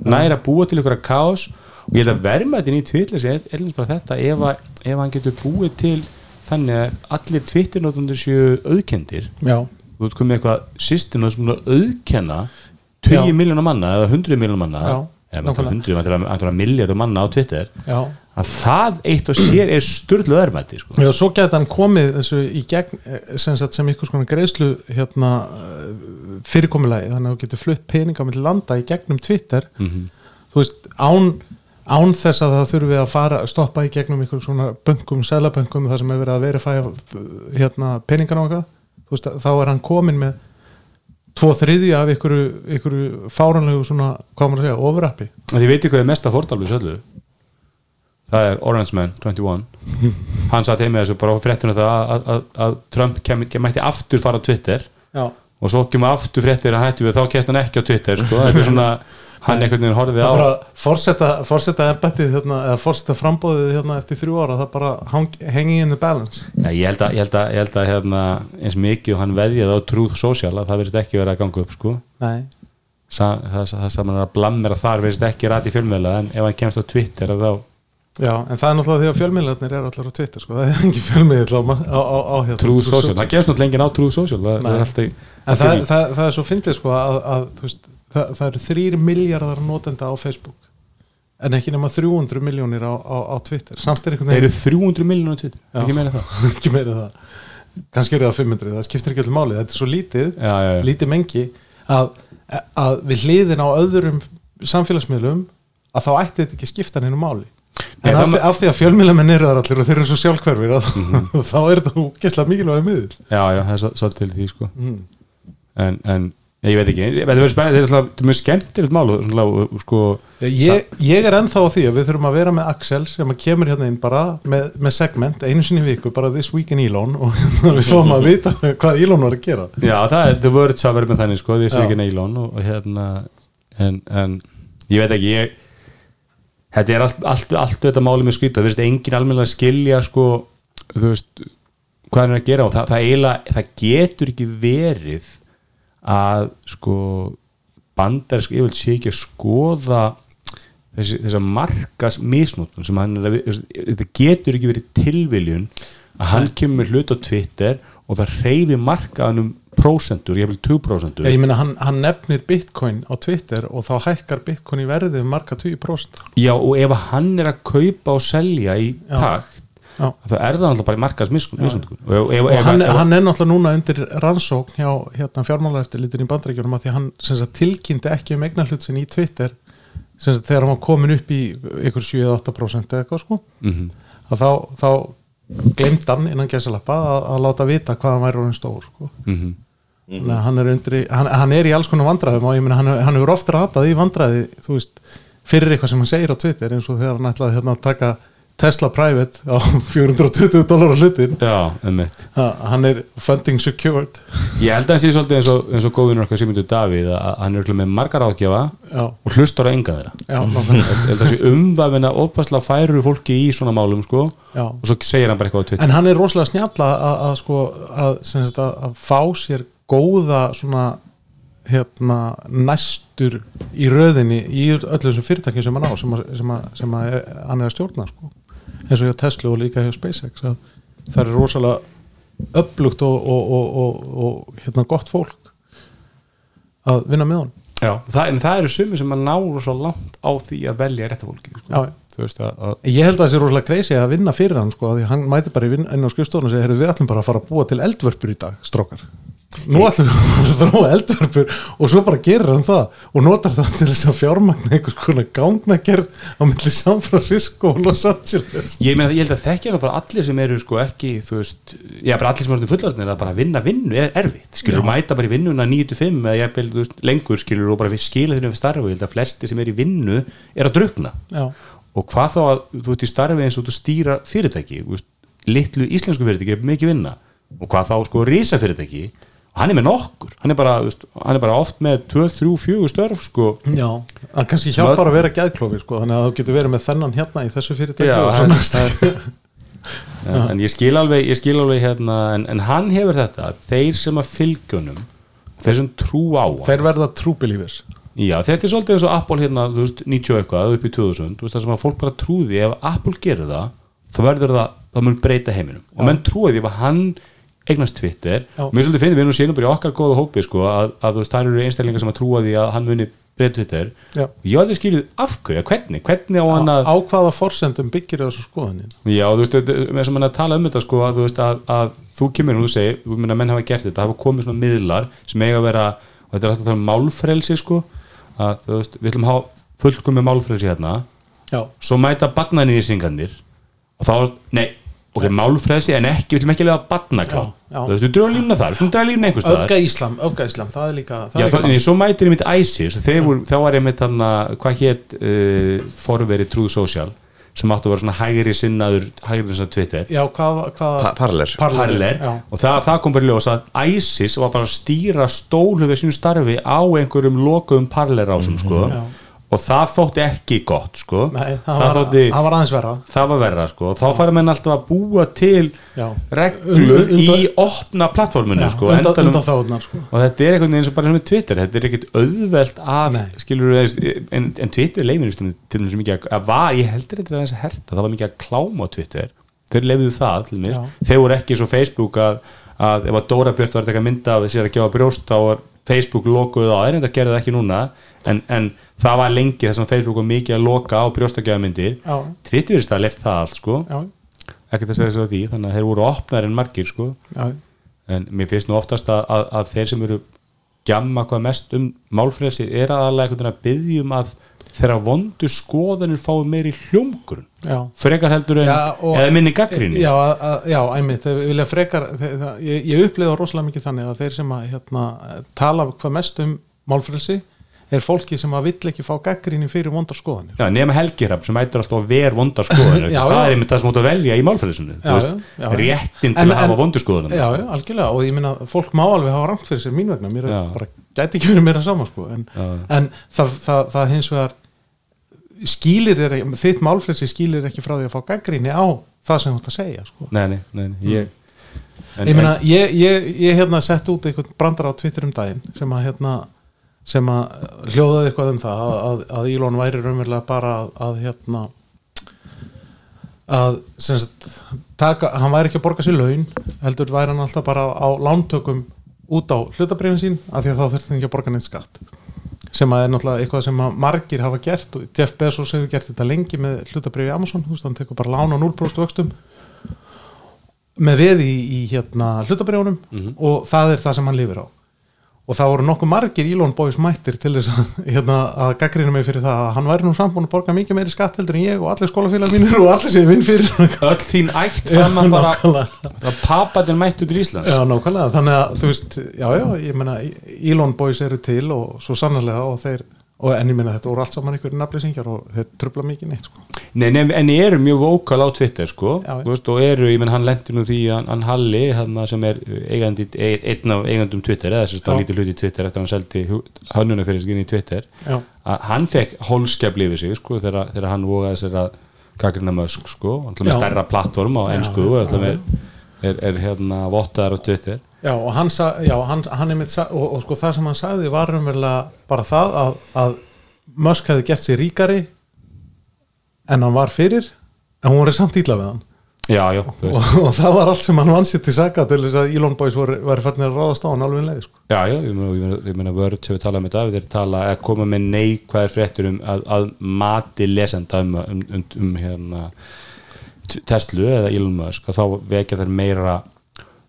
Speaker 2: næra að búa til ykkur að kaos og ég held að verðmættin í Twitter sé ellins bara þetta ef, að, ef hann getur búið til þannig að allir Twitter-nótundur séu auðkendir
Speaker 4: já,
Speaker 2: þú ert komið eitthvað system að svona auðkenna 20
Speaker 4: Já.
Speaker 2: miljónar manna eða 100 miljónar manna
Speaker 4: Já,
Speaker 2: eða
Speaker 4: nákvæmlega.
Speaker 2: 100 miljónar manna á Twitter
Speaker 4: já
Speaker 2: að það eitt og sér er styrlu örmætti sko.
Speaker 4: Já, svo geti hann komið þessu í gegn eh, sem, sagt, sem ykkur skona greiðslu hérna, eh,
Speaker 2: Mhm.
Speaker 4: fyrirkomulagi þannig að þú getur flutt peninga með landa í gegnum Twitter þú veist, án án þess að það þurfi að fara stoppa í gegnum ykkur svona bönkum, selabönkum þar sem er verið að verifæja hérna, peningan og eitthvað Þú veist, þá er hann komin með tvo þriðja af ykkur, ykkur fáranlegu svona, hvað á maður að segja, overrappi
Speaker 2: En þið veitir hvað er mesta fordálfis öllu Það er Orange Man 21 Hann satt heim með þessu bara á fréttuna það að, að- að, að Trump kem, kem, mætti aftur fara á Twitter
Speaker 4: Já,
Speaker 2: og svo kemur aftur fréttir að hann hættu við þá kemst hann ekki á Twitter sko. þetta er svona, hann einhvern veginn horfið á
Speaker 4: það bara forseta, forseta embættið hérna, eða forseta frambóðið hérna eftir þrjú ára það bara hang, hanging in the balance
Speaker 2: Já, ég held að, ég held að, ég held að hérna, eins mikið og hann veðjaði á Truth Social að það verðist ekki verið að ganga upp sko.
Speaker 4: Nei,
Speaker 2: Sa, það, það sem hann er að blammera þar verðist ekki rætt í fjölmjöla en ef hann kemst á Twitter að þá
Speaker 4: já, en það er náttúrulega því að fjölmiðlarnir eru allar á Twitter sko, það er ekki fjölmiðl á, á, á, á hérna
Speaker 2: Truth Social,
Speaker 4: Social.
Speaker 2: það gefst náttúrulega enginn á Truth Social það,
Speaker 4: Nei.
Speaker 2: það er alltaf,
Speaker 4: En það, það, það er svo fyndið sko að, að þú veist, það, það eru þrýr miljardar notenda á Facebook en ekki nema 300 miljónir á, á, á Twitter samt er einhvern
Speaker 2: þeir eru 300 miljonar á Twitter,
Speaker 4: Já.
Speaker 2: ekki meina það
Speaker 4: ekki meira en það kannski eru það 500, það skiptir ekki allir máli þetta er svo lítið,
Speaker 2: já, já, já.
Speaker 4: lítið mengi að, að við hliðin á öðrum samfélagsmiðlum að þá ætti þetta ekki skipta neinu máli
Speaker 2: Nei,
Speaker 4: en
Speaker 2: það
Speaker 4: af,
Speaker 2: ma-
Speaker 4: því- af því að fjölmiðlamenn eru þar allir og þeir eru svo sjálfhverfir að, þá er þetta úkesslega mikilvæg miður
Speaker 2: já, já, það er svo- svolítið til því sko. en, en ég veit ekki, þetta verður spennandi þetta er alltaf- þetta er mjög skemmtilegt mál og svona, og- og sko,
Speaker 4: Já, Ég, ég er ennþá á því að við þurfum að vera með Axel sem að kemur hérna inn bara með, með segment einu sinni í viku, bara This Week in Elon og hérna við fáum að vita hvað Elon var að gera
Speaker 2: já, það er The Words að verður með þannig, sko, því
Speaker 4: Já.
Speaker 2: sem ekki neilón og, og hérna, en, en ég veit ekki, ég þetta er allt, allt, allt þetta máli með skrýta það verðist engin almennilega skilja sko, þú veist, hvað hann er að gera og það, það, eiginlega, það getur ekki verið að sko bandarsk yfirvöld sé ekki að skoða þessi, þessa markas misnótun sem hann er að, við- þetta getur ekki verið tilviljun að hann kemur með hlut á Twitter og það reyfi markaðanum prósentur, ég vil 2%
Speaker 4: Ég meina hann, hann nefnir Bitcoin á Twitter og þá hækkar Bitcoin í verði um marga 20%
Speaker 2: Já, og ef hann er að kaupa og selja í
Speaker 4: Já.
Speaker 2: takt
Speaker 4: Já.
Speaker 2: þá er það náttúrulega bara í markaðs misundun og, ef- ef-
Speaker 4: og
Speaker 2: ef-
Speaker 4: hann,
Speaker 2: ef-
Speaker 4: hann er náttúrulega núna undir rannsókn hjá hérna, fjármálaeftirlitin í bandaríkjunum að því að hann sem sagt, tilkynnti ekki um eignarhlut sinni í Twitter sem sagt, þegar hann var komin upp í ykkur 7-8% eða eitthvað sko
Speaker 2: Mhm.
Speaker 4: að þá, þá glemt hann innan gæsalappa að, að láta vita hvað hann væri orðin stór sko.
Speaker 2: Mhm.
Speaker 4: mm -hmm. hann, er undri, hann, hann er í alls konar vandræðum og ég meina hann, hann hefur oft ratað í vandræði þú veist, fyrir eitthvað sem hann segir á Twitter eins og þegar hann ætlaði hérna að taka Tesla Private á 420 dólar á hlutin
Speaker 2: Já, emmitt
Speaker 4: Ha, hann er funding secured
Speaker 2: Ég held að hann sé svolítið eins og, eins og góðvinur okkar sem myndu Davíð að að hann er örugglega með margar ágjafa
Speaker 4: já,
Speaker 2: og hlustar á enga þeirra
Speaker 4: já, nákvæmlega.
Speaker 2: Ég held að sé umvafin að opasla færu fólki í svona málum sko
Speaker 4: já.
Speaker 2: og svo segir hann bara eitthvað á Twitter
Speaker 4: en hann er rosalega snjalla að, að sko að, sem sagt, að, að fá sér góða svona hérna næstur í röðinni í öllu þessum fyrirtækjum sem hann á sem, að, sem, að, sem að er, hann er að stjórna sko. eins og hjá Tesla og líka hjá SpaceX að það er rosalega upplugt og, og, og, og, og hérna gott fólk að vinna með honum
Speaker 2: Já, það, en það eru sumi sem að náru svo langt á því að velja rétta fólki sko.
Speaker 4: Já.
Speaker 2: Þú veist að, að
Speaker 4: Ég held að það sé rosalega greisi að vinna fyrir hann sko, af því að hann mæti bara í vin- inn á skrifstofun og segir, "Heyrðu, við ætlum bara að fara að búa til eldvörpur í dag, strókar. Nú ætlum við bara að þróa eldvörpur og svo bara gerir hann það og notar það til þess að fjármagna einhvers konar gangnagerð á milli San Francisco og Los Angeles.
Speaker 2: Ég, meina, ég held að þekkja nú bara allir sem eru sko ekki, þú veist, já bara allir sem eru fullarnir að bara vinna vinnu er erfitt skilur, mæta bara í vinnuna 9-5 eða jafnvel, þú veist, lengur skilur og bara skila þeirnum við starfi, ég held að flesti sem eru í vinnu er að drukna
Speaker 4: Já,
Speaker 2: og hvað þá að þú ert í starfi eins og þú stýra fyrirtæki, þú veist, litlu íslensku fyrirtæki er mikið vinna og hvað þá sko risa fyrirtæki og hann er með nokkur, hann er bara, þú veist, hann er bara oft með 2-3-4 störf sko
Speaker 4: já. Það kannski hjálpar að vera gæðklófi sko, þannig að þú getur verið með þennan hérna í þessu fyrirtæki
Speaker 2: Já,
Speaker 4: og
Speaker 2: hann-
Speaker 4: svona.
Speaker 2: en, en ég skil alveg, ég skil alveg hérna, en, en hann hefur þetta þeir sem að fylgjunum þeir sem trú á hann
Speaker 4: Þeir verða trúbelífis.
Speaker 2: Já, þetta er svolítið eins og Apple hérna þú veist, 90 og eitthvað upp í 2000 þú veist, það sem að fólk bara trúði ef Apple gerir það þá verður það, það mun breyta heiminum og menn trúið ef að hann eignast Twitter,
Speaker 4: Já.
Speaker 2: mér svolítið finnum við nú sínum bara í okkar góða hópi sko að, að þú veist, það eru einstælingar sem að trúa því að hann muni breyta Twitter
Speaker 4: Já.
Speaker 2: ég hafði skilið af hverju, hvernig, hvernig á hann að
Speaker 4: Á hvaða forsendum byggir þessu skoðanin?
Speaker 2: Já, þú veist, þetta- með sem hann er að tala um þetta sko, að, þú veist, að, að þú kemur og þú segir, þú meina menn hafa gert þetta, hafa komið svona miðlar sem eiga að vera, og þetta er alltaf að tala um málfrelsi sko, að þú veist, við ætlum að hafa fullkomið málfrelsi hérna
Speaker 4: Já.
Speaker 2: svo mæta barnanýðisingarnir og þá, nei, ok, málfræðsi en ekki, við viljum ekki lega barnaklá
Speaker 4: Já, já.
Speaker 2: þú veist, við dröðum lífna þar, við skulum dröðum lífna einhvers staðar
Speaker 4: Öfga Íslam, öfga Íslam, það er líka það
Speaker 2: Já,
Speaker 4: er líka
Speaker 2: þannig, svo mætir ég mitt ISIS og þeir voru, þá var ég mitt þarna, hvað hétt uh, forveri Trúð Social sem áttu að vera svona hægri sinnaður hægri sinnaður Twitter,
Speaker 4: Já, hvað, hvað
Speaker 3: Pa- Parler.
Speaker 2: parler
Speaker 4: já.
Speaker 2: og það, það kom bara í ljós að ISIS var bara að stýra stólu við sínu starfi á einhverjum lokuðum parler ásum, sko
Speaker 4: Já.
Speaker 2: og það þótti ekki gott, sko
Speaker 4: Nei, það, var,
Speaker 2: þótti,
Speaker 4: það var aðeins verra
Speaker 2: það var verra, sko og þá fara menn alltaf að búa til
Speaker 4: Já.
Speaker 2: reglur
Speaker 4: Undan-
Speaker 2: í opna plattforminu, sko
Speaker 4: undan,
Speaker 2: endanum-
Speaker 4: undan þáðnar sko.
Speaker 2: og þetta er einhvern veginn sem bara sem er Twitter þetta er ekkert auðvelt af
Speaker 4: Nei.
Speaker 2: skilur en, en Twitter leifinu til þess mikið að, að var, ég heldur þetta er aðeins að herta það var mikið að kláma á Twitter þeir leifuðu það til mér,
Speaker 4: Já.
Speaker 2: þeir voru ekki svo Facebook að, að ef að Dóra Björn var að taka mynda af þessi að gefa brjóst þá var Facebook lokuð á, er þetta gerði það ekki núna en, en það var lengi þess að Facebook var mikið að loka á brjóstakjafamyndir
Speaker 4: Já.
Speaker 2: Twitter er það leift það allt sko
Speaker 4: Já,
Speaker 2: ekkert að segja þess að því, þannig að þeir voru opnar en margir sko
Speaker 4: já,
Speaker 2: en mér finnst nú oftast að, að, að þeir sem eru gjamma hvað mest um málfrelsi er aðalega einhvern veginn að byggjum að þeirra vondu skoðanir fái meiri hljómgrunn
Speaker 4: já
Speaker 2: frekar heldur en,
Speaker 4: Já, og-
Speaker 2: eða minni gaggrinni
Speaker 4: Já, að- að- já, æmi, þeir vilja frekar þeir, það, ég, ég upplifa rosalega mikið þannig að þeir sem að hérna, tala hvað mest um málfrelsi er fólki sem að vill ekki fá gaggrinni fyrir vondar skoðanir
Speaker 2: Já, nema helgirhafn sem ættur alltaf að ver vonda skoðanir
Speaker 4: Já,
Speaker 2: það
Speaker 4: já.
Speaker 2: er einmitt það sem áttu að velja í málfrelsinu
Speaker 4: Já, já, já.
Speaker 2: réttin til
Speaker 4: En-
Speaker 2: að hafa
Speaker 4: en-
Speaker 2: vondu skoðanir
Speaker 4: Já, já, algjörlega og ég minna fólk má alveg hafa rangt fyrir sér mín vegna, mér
Speaker 2: Já.
Speaker 4: er bara gæti ekki verið meira sama sko en, en það, það, það hins vegar skýlir er, þitt málflessi skýlir ekki frá því að fá gaggrinni á það sem þú ert að segja sko
Speaker 2: Nei, nei, nei, nei ég, en,
Speaker 4: ég meina, ég, ég, ég hérna sett út einhvern brandar á Twitter um daginn sem að hérna sem að hljóðaði eitthvað um það að, að, að Elon væri raunverulega bara að, að hérna að sem sagt, taka, hann væri ekki að borga sér laun heldur væri hann alltaf bara á lántökum út á hlutabrifin sín af því að þá þurfti hann ekki að borga neitt skatt sem að er náttúrulega eitthvað sem að margir hafa gert og Jeff Bezos hefur gert þetta lengi með hlutabrifi Amazon, þú veist, hann tekur bara lán á 0% vöxtum með veði í, í hérna hlutabrjónum og það er það sem hann lifir á og það voru nokkuð margir Elon Boys mættir til þess að, hérna, að gaggrina mig fyrir það að hann væri nú sambúin að borga mikið meiri skatt heldur en ég og allir skólafélag mínir og allir sem ég vinn fyrir
Speaker 2: öll þín ætt
Speaker 4: Já,
Speaker 2: fann að bara
Speaker 4: nákvæmlega.
Speaker 2: að papatinn mættu til Íslands
Speaker 4: Já, nákvæmlega, þannig að þú veist, já, já, ég meina Elon Boys eru til og svo sannarlega og þeir, og en ég meina þetta voru allt saman ykkur nafnlýsingjar og þeir trubla mikið neitt sko.
Speaker 2: Nei, nei, en ég eru mjög vókal á Twitter sko,
Speaker 4: Já, já.
Speaker 2: Þú veist, og eru, ég menn hann lendi nú því að hann, hann Halli, hann sem er eigandi, e- einn af eigandum Twitter eða þess að hann
Speaker 4: Já.
Speaker 2: lítið hluti í Twitter eftir að hann seldi hönnuna fyrir sig inn í Twitter
Speaker 4: Já.
Speaker 2: að hann fekk hólskefli yfir sig sko, þegar, þegar hann vogaði sér að gagrina mösk sko, hann ætla með
Speaker 4: Já.
Speaker 2: stærra plattform á ennsku og alltaf með er, er hérna vottaðar á Twitter
Speaker 4: Já, og hann, sa, já, hann, hann einmitt sa, og, og sko það sem hann sagði var umverulega bara það að, að Musk hefði gert sér ríkari en hann var fyrir en hún var samt ítla við hann
Speaker 2: Já, já, þú veist
Speaker 4: og, og það var allt sem hann vann sér til saka til þess að Elon Boys voru, voru færðin að ráðast á hann alveg leið sko.
Speaker 2: Já, já, ég meina- ég meina- ég meina vörð sem við tala um þetta, við erum tala að koma með neikvæðar fréttur um að, að mati lesenda um, um, um, um hérna T- Tesla eða Elon Musk að þá vekja þær meira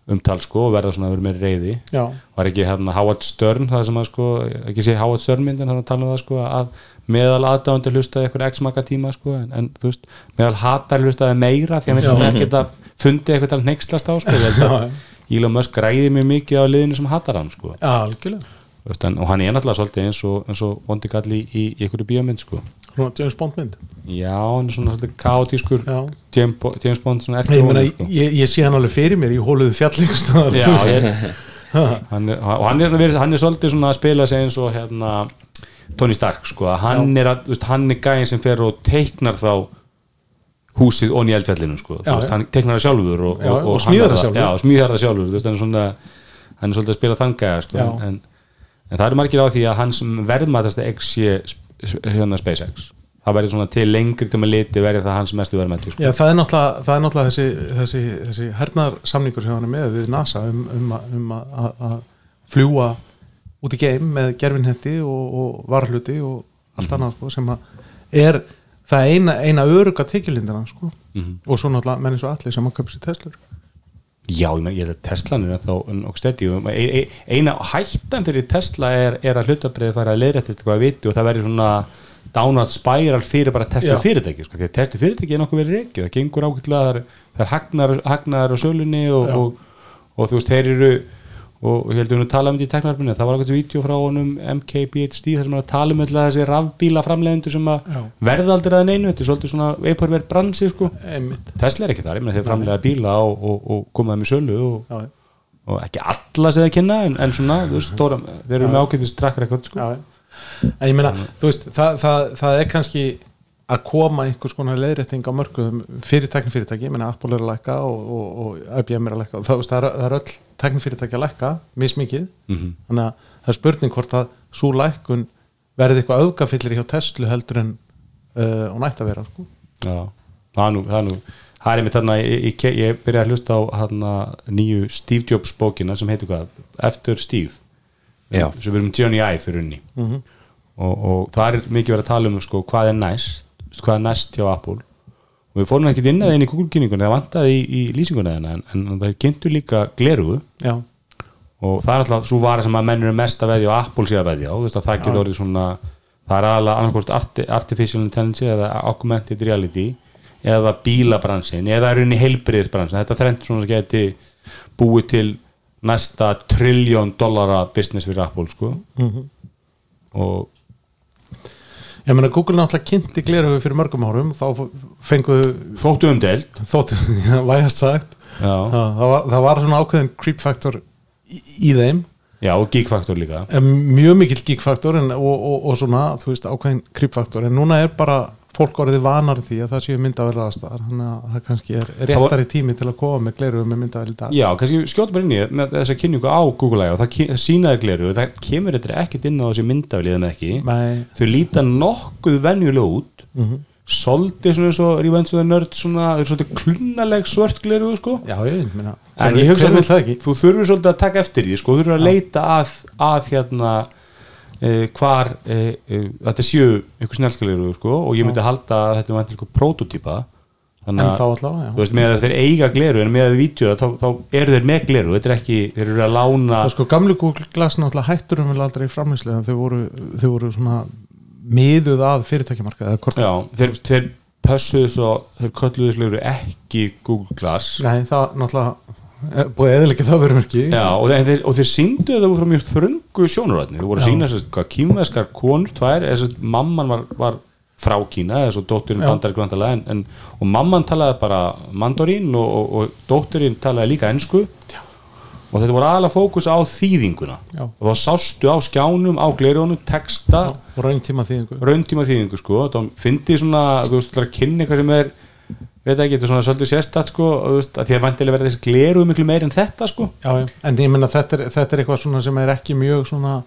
Speaker 2: umtal sko og verða svona að vera meira reyði
Speaker 4: Já.
Speaker 2: var ekki hérna Howard Stern það sem að sko, ekki sé Howard Stern myndin þannig að tala um það sko að meðal aðdáðandi hlustaði eitthvað x maka tíma sko en, en þú veist, meðal hatar hlustaði meira því að mér þetta ekki að fundi eitthvað að hneykslast á sko ég held að
Speaker 4: Já,
Speaker 2: Elon Musk græði mjög mikið á liðinu sem hatar hann sko
Speaker 4: Já, algjörlega
Speaker 2: Þú veist, en, og hann er náttúrulega svolítið eins og, eins og vondi galli í, í einhverju bíómynd sko.
Speaker 4: Svona James Bond mynd
Speaker 2: já, hann er svona svolítið kaotískur
Speaker 4: Já.
Speaker 2: James Bo- James Bond svona
Speaker 4: Ég, meina,
Speaker 2: erkivonur, sko.
Speaker 4: ég, ég sé hann alveg fyrir mér í hóluðu fjallingustöðar
Speaker 2: já, ég, hann er, og hann er, svona verið- hann er svolítið svona að spila sig eins og hérna, Tony Stark sko. að hann, er, að- þú veist, hann er gæðin sem fer og teiknar þá húsið onni í eldfjallinu sko. Þú
Speaker 4: Já,
Speaker 2: veist,
Speaker 4: já.
Speaker 2: hann teiknar það sjálfur og,
Speaker 4: Já, og smíðar það sjálfur.
Speaker 2: já, og smíðar það sjálfur þú veist, hann, er svona, hann er svolítið að spila þangæða sko.
Speaker 4: Já.
Speaker 2: en, en það eru margir á því að hans verðmætasta X sé sp- hérna SpaceX það verður svona til lengri tíma liti verður það hans mestu verðmætti sko.
Speaker 4: Já, það er náttúrulega, það er náttúrulega þessi, þessi, þessi hernaðarsamningur sem hann er með við NASA um, um, að- um að- að að fljúa út í geim með gerfinhetti og, og varhluti og allt annað sko, sem að er það eina, eina öruga tekjulindina sko. og svo náttúrulega menn eins og allir sem að köpa sér Teslur
Speaker 2: já, ég, meina, ég held að Teslan er þá og stedi, e- eina hættan fyrir Tesla er, er að hlutabriði fara að leiðrættist eitthvað að viti og það verður svona downward spiral fyrir bara testu
Speaker 4: Já.
Speaker 2: fyrirtæki sko, því að testu fyrirtæki er nokkuð verið reikið það gengur ákveðlega, það er, það er hagnar, hagnar á sölunni og,
Speaker 4: Já.
Speaker 2: og, og þú veist, þeir eru og ég heldum við að tala um þetta í teknarfinu það var ákveðt vídeo frá honum MKBHD þar sem hann er að tala um alltaf þessi rafbíla framlegendur sem að
Speaker 4: Já.
Speaker 2: verða aldrei að neinu þetta er svolítið svona vaporware bransi sko.
Speaker 4: einmitt
Speaker 2: Tesla er ekki þar, ég meina þeir framlega bíla og, og, og komaði með sölu og,
Speaker 4: já,
Speaker 2: og ekki alla sem þeir kynna en, en svona, þú veist, stóra, þeir eru með ágætis track record sko.
Speaker 4: já. en ég meina, þú veist það, það, það er kannski að koma einhvers konar leiðrétting á mörgum fyrir teknifyrirtæki, ég meina Apple er að lækka og, og, og IBM er að lækka og það, þú veist, það, er, það er öll teknifyrirtæki að lækka mismikið,
Speaker 2: Mhm.
Speaker 4: -hmm. þannig að það er spurning hvort að svo lækkun verði eitthvað öfgafillir hjá Tesla heldur en uh, hún ætti að vera sko.
Speaker 2: Já, það er nú, það er nú það er einmitt þarna, ég, ég, ég byrja að hlusta á hana, nýju Steve Jobs bókina sem heitir hvað, Eftir Steve
Speaker 3: Já.
Speaker 2: sem við erum Johnny I fyrir unni -hmm. og, og það er mikið verið að tala um sko, hvað er næst, hvað er næst hjá Apple og við fórum ekki inn að inn í Google-kynningunni það vantaði í, í lýsinguna þennan en, en það er kynntu líka gleruðu
Speaker 4: já,
Speaker 2: og það er alltaf svo vara sem að menn eru mest að veðja og Apple sé að veðja á, þú veist að það getur orðið svona það er alveg annarkvort arti, artificial intelligence eða augmented reality eða bílabransin eða er unni heilbriðisbransin, þetta þrennt svona sem geti búið til næsta triljón dollara business fyrir Apple sko og
Speaker 4: ég meina Google náttúrulega kynnti gleröfu fyrir mörgum árum, þá fenguðu
Speaker 2: þóttu umdeild
Speaker 4: þótt, vægast sagt
Speaker 2: Já.
Speaker 4: það, það, var, það var svona ákveðin creep factor í, í þeim
Speaker 2: já og geek factor líka
Speaker 4: En mjög mikill geek faktor en, og, og, og svona, þú veist, ákveðin creep faktor en núna er bara fólk orðið vanar því að það séu myndavælir aðstæðar þannig að það kannski er
Speaker 2: var-
Speaker 4: réttari tími til að koma með gleru með myndavælir í dag
Speaker 2: Já, kannski skjóta bara inn í með þessa kynningu á Google I.O. það kyn- það sínaði gleru, það kemur þetta ekkert inn á þessi myndafliðum ekki
Speaker 4: Nei.
Speaker 2: þau líta nokkuð venjuleg út mm
Speaker 4: Mhm.
Speaker 2: -hmm. svolítið svona eins og Revenge of the Nerd svona, þau eru svolítið klunnaleg svört gleru sko.
Speaker 4: Já, ég meina
Speaker 2: en
Speaker 4: hver-
Speaker 2: ég hugsa
Speaker 4: hver
Speaker 2: að
Speaker 4: vill það
Speaker 2: þú,
Speaker 4: ekki
Speaker 2: þú þurfur svolítið að taka eftir því sko, þú þurfur að leita að, að hérna Uh, hvar uh, uh, þetta séu ykkur snjálskalegur sko, og ég myndi halda að þetta er vantilega ykkur prototípa þannig
Speaker 4: En
Speaker 2: að-
Speaker 4: þá allavega, já
Speaker 2: þú veist, með að þeir eiga gleru en með að við vítjóða, þá, þá eru þeir með gleru þetta er ekki, þeir eru að lána
Speaker 4: Og sko gamlu Google Glass náttúrulega hættur um vel aldrei í framlýslu en þau voru, þau voru svona miðuð að fyrirtækjamarkaði eða hvort-
Speaker 2: já, þeir, þeir pössuðu svo þeir kölluðu þessu gleru ekki Google Glass
Speaker 4: Nei, það náttúrulega er búið eðilegge það verðum ekki
Speaker 2: já, og, þeir, þeir, og þeir síndu það frá mjög þröngu sjónuratni þú voru að
Speaker 4: Já.
Speaker 2: sína sérst, hvað, kýmveskar konur tvær, eða sérst, mamman var, var frá Kína, eða svo dótturinn
Speaker 4: Já.
Speaker 2: bandar gröndalega, en, en, og mamman talaði bara mandarín og, og, og dótturinn talaði líka ensku
Speaker 4: Já.
Speaker 2: og þetta voru aðalega fókus á þýðinguna
Speaker 4: Já.
Speaker 2: og þá sástu á skjánum, á glerjónum, texta
Speaker 4: og raun tíma þýðingu
Speaker 2: rauntíma þýðingu sko þá fyndi svona, þú veist, þú ætlar að kynna eitthvað sem er veit ekki, þetta er svona svolítið sérstætt sko og þú veist, að því að vantilega verða þessi gleru miklu meir en þetta sko
Speaker 4: já, já. en ég menna þetta, er- þetta er eitthvað svona sem er ekki mjög svona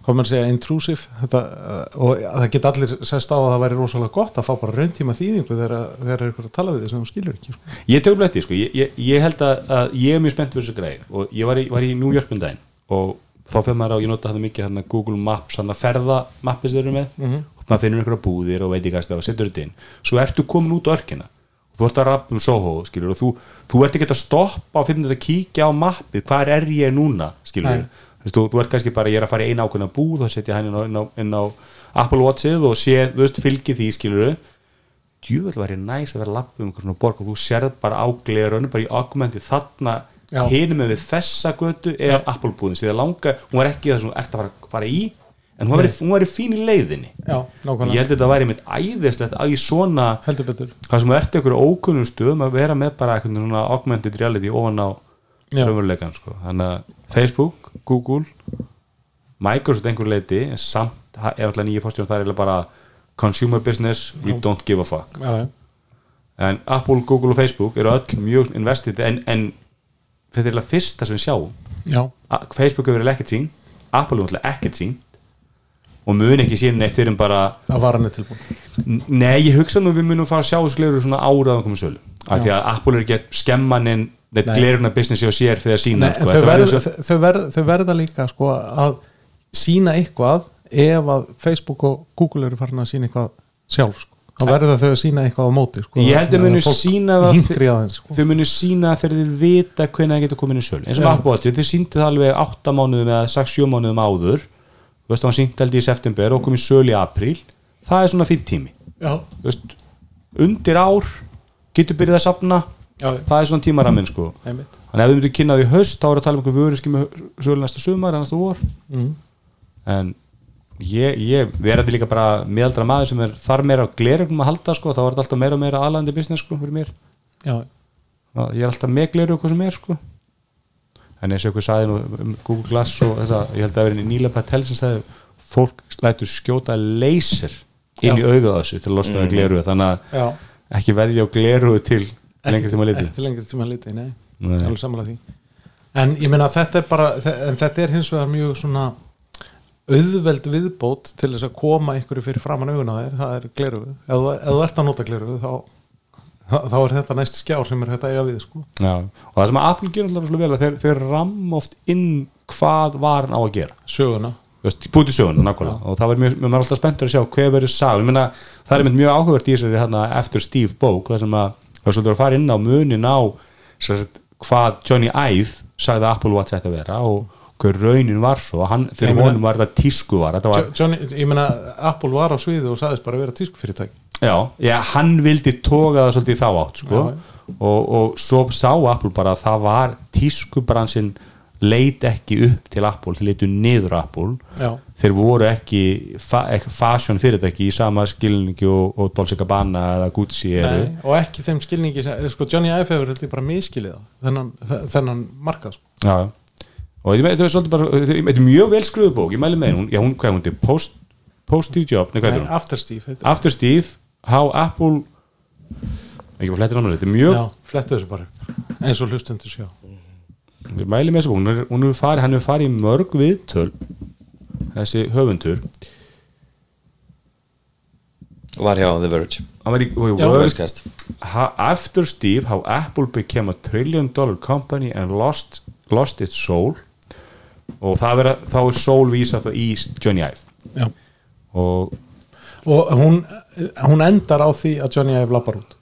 Speaker 4: hvað maður að segja, intrusive þetta, eh, og það get allir sest á að það væri rosalega gott að fá bara rauntíma þýðingu þegar, þegar er eitthvað að tala við því sem þú skilur ekki sko.
Speaker 2: ég tegur bletti sko, ég, ég, ég held að, að ég er mjög spennt fyrir þessu greið og ég var í, var í New York um daginn og þá fyrir maður á, ég nota hann mikið hann Google Maps, hann að ferða mappið sem þeir eru með og maður finnur einhverja búðir og veit ekki hvað það og setur þetta inn, svo ertu komin út á örkina og þú ert að rappa um Soho skilur, og þú, þú ert ekki að stoppa og finnir þetta að kíkja á mappið, hvar er ég núna skilur,
Speaker 4: Nei.
Speaker 2: Þú veist, þú, þú ert kannski bara, ég er að fara í eina ákveðna búð og setja hann inn á, inn á, inn á Apple Watchið og sé, þú veist, fylgi því skilur djúvel væri næs að vera lappu um einhver svona borg og þú sérð bara á glerunum, bara í augmenti þarna
Speaker 4: Já.
Speaker 2: hinum með við þessa götu eða Apple búðin, sér það langa hún var ekki það sem þú ert að fara, fara í en hún væri, hún væri fín í leiðinni
Speaker 4: já,
Speaker 2: ég
Speaker 4: nákvæmlega,
Speaker 2: held að þetta væri mitt æðislegt að í svona
Speaker 4: heldur betur
Speaker 2: það sem ertu ykkur ókunnum stöðum að vera með bara eitthvað svona augmented reality ofan á
Speaker 4: Já.
Speaker 2: raunveruleikan sko. þannig að Facebook, Google Microsoft einhver leiti en samt, ha- ef alltaf nýja fórstjórn það er eiginlega bara consumer business we don't give a fuck
Speaker 4: já, já.
Speaker 2: en Apple, Google og Facebook eru öll mjög investið en, en þetta er eiginlega fyrsta sem við sjáum
Speaker 4: já,
Speaker 2: A- Facebook hefur eiginlega ekkert sín Apple hefur eiginlega ekkert sín og mun ekki sín neitt fyrir en bara
Speaker 4: að varan er tilbúin
Speaker 2: N- Nei, ég hugsa nú að við munum fara að sjá þessu glerur svona áraðan komið sölu af því að Apple er ekki að skemma en þetta
Speaker 4: Nei.
Speaker 2: gleruna business ég á sér fyrir að sína
Speaker 4: Nei,
Speaker 2: sko.
Speaker 4: en þau,
Speaker 2: Þetta var
Speaker 4: verð,
Speaker 2: eins og-
Speaker 4: þau, verð, þau verða líka sko, að sína eitthvað ef að Facebook og Google eru farin að sína eitthvað sjálf sko. þá verða þau að sína eitthvað á móti sko.
Speaker 2: Ég held að munu
Speaker 4: Fólk
Speaker 2: sína það
Speaker 4: hinkri að þeim, sko.
Speaker 2: þau munu sína þegar þau vita hvernig það getur komið inn í sölu eins og
Speaker 4: Já.
Speaker 2: Apple Watch, þau síndi það alveg 8 mánuðum eða 6-7 mánuðum áður þú veist það var sínt held ég í september og kom í sölu í apríl það er svona fýtt tími
Speaker 4: já,
Speaker 2: Þú veist, undir ár getur byrjað að safna
Speaker 4: Já.
Speaker 2: það er svona tímaraminn sko
Speaker 4: einmitt
Speaker 2: þannig að við myndum kynna því í haust þá er að tala um einhver vöruski með sölu næsta sumar eða næsta vor
Speaker 4: mm.
Speaker 2: en ég, ég verði líka bara meðaldra maður sem er þar meira á glerugum að halda sko, þá er þetta alltaf meira og meira aðlandi business sko, fyrir mér,
Speaker 4: já,
Speaker 2: Og ég er alltaf með glerug hvað sem er sko en eins og ykkur saði nú um Google Glass og þetta, ég held að verið nýlega Patel sem sagði fólk lætur skjóta laser inn í
Speaker 4: Já. Mhm.
Speaker 2: auðað þessu til að losna mm. gleruga, þannig
Speaker 4: já
Speaker 2: að ekki veðja á glerugu til lengri tíma litið
Speaker 4: eftir lengri tíma liti, nei,
Speaker 2: Nei.
Speaker 4: alveg samanlega því en ég meina þetta er bara þe- en þetta er hins vegar mjög svona auðveld viðbót til þess að koma einhverju fyrir framan augun á þér það er glerugu, ef þú- ef þú ert að nota glerugu þá, þá er þetta næst skjár sem er þetta eiga við sko
Speaker 2: Já. og það sem að Apple gerir alltaf svo vel að þeir, þeir ramm oft inn hvað varan á að gera
Speaker 4: söguna,
Speaker 2: Veist, búti söguna, nákvæmlega og það var mjög, maður er alltaf spenntur að sjá hver verður sá ég meina, það er einmitt mjög áhugavert í þessari hérna, eftir Steve bók, það sem að það er svolítið að fara inn á munin á sem sagt, hvað Johnny Ive sagði að Apple Watch ætti að vera og hver raunin var svo, hann,
Speaker 4: Ég
Speaker 2: fyrir
Speaker 4: meina-
Speaker 2: honum var þetta tísku var, þetta var,
Speaker 4: Jo- Johnny, ég meina Apple var á sviðu og sagðist bara að vera tískufyrirtæki
Speaker 2: já, já hann vildi toga það svolítið í þá átt, sko
Speaker 4: Já,
Speaker 2: og, og svo sá Apple bara að það var tískubransin leit ekki upp til Apple, þeir leitu niður á Apple
Speaker 4: já,
Speaker 2: þeir voru ekki, fa ekki fashion fyrirtæki í sama skilningi og, og Dolce Gabbana eða Gucci eru
Speaker 4: nei, og ekki þeim skilningi sem, sko Johnny Ive hefur heldur bara miskilið það, þennan, þennan markað sko.
Speaker 2: já, já. og þetta er- þetta er svolítið bara þetta er mjög vel skrifuð bók, ég mæli með henni. hún, já, hún hvað er hún til, Post, Post Steve Job nei, hvað
Speaker 4: nei,
Speaker 2: er hún?
Speaker 4: After Steve heitir
Speaker 2: After Steve, How Apple ekki bara flettir námið, þetta er
Speaker 4: það.
Speaker 2: mjög
Speaker 4: já, flettu þessu bara eins og hlustendur sjá
Speaker 2: ég mæli með þessu bók, hún er- hún hefur farið hann hefur farið í mörg viðtöl þessi höfundur
Speaker 3: var hjá The Verge
Speaker 2: hann var í, og í
Speaker 4: Já.
Speaker 2: Word
Speaker 3: Vergecast.
Speaker 2: how, after Steve, how Apple became a trillion dollar company and lost, lost its soul og það vera, þá er soul vísa það í Johnny Ive
Speaker 4: já.
Speaker 2: og
Speaker 4: og hún, hún endar á því að Johnny Ive lappar út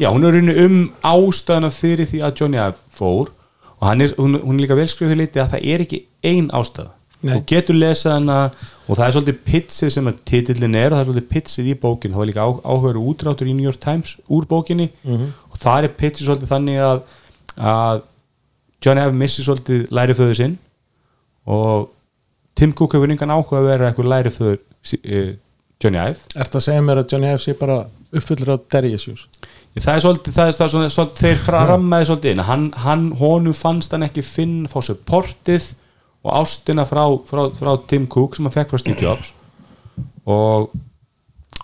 Speaker 2: já, hún er rauninni um ástæðana fyrir því að Johnny Ive fór og hann er, hún, hún er líka velskrifuð liti að það er ekki ein ástæða
Speaker 4: Nei.
Speaker 2: og getur lesað hana og það er svolítið pitsið sem að titillin er og það er svolítið pitsið í bókin það var líka áhugaður útráttur í New York Times úr bókinni og það er pitsið svolítið þannig að, að Johnny Ive missir svolítið læriföðu sinn og Tim Cook hefur engan áhuga að vera eitthvað læriföður eh, Johnny Ive
Speaker 4: ert að segja mér að Johnny Ive sé bara uppfyllur á Derry Issues
Speaker 2: það er svolítið, það er, það er svona, svolítið þeir frarammaði svolítið inn, hann, hann honum fannst hann ekki finn, fá supportið og ástina frá, frá, frá Tim Cook sem hann fekk frá Steve Jobs og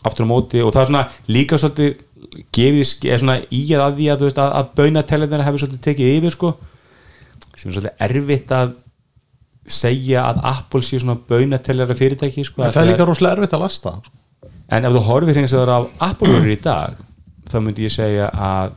Speaker 2: aftur á móti og það er svona líka svolítið gefið, í ske- eða svona í að að því að þú veist að, að baunatellirnir hefur svolítið tekið yfir sko, sem er svolítið erfitt að segja að Apple sé svona baunatellara fyrirtæki sko,
Speaker 4: en það er líka rosalega erfitt að lasta það, sko.
Speaker 2: En ef þú horfir hins vegar á appalvörur í dag þá myndi ég segja að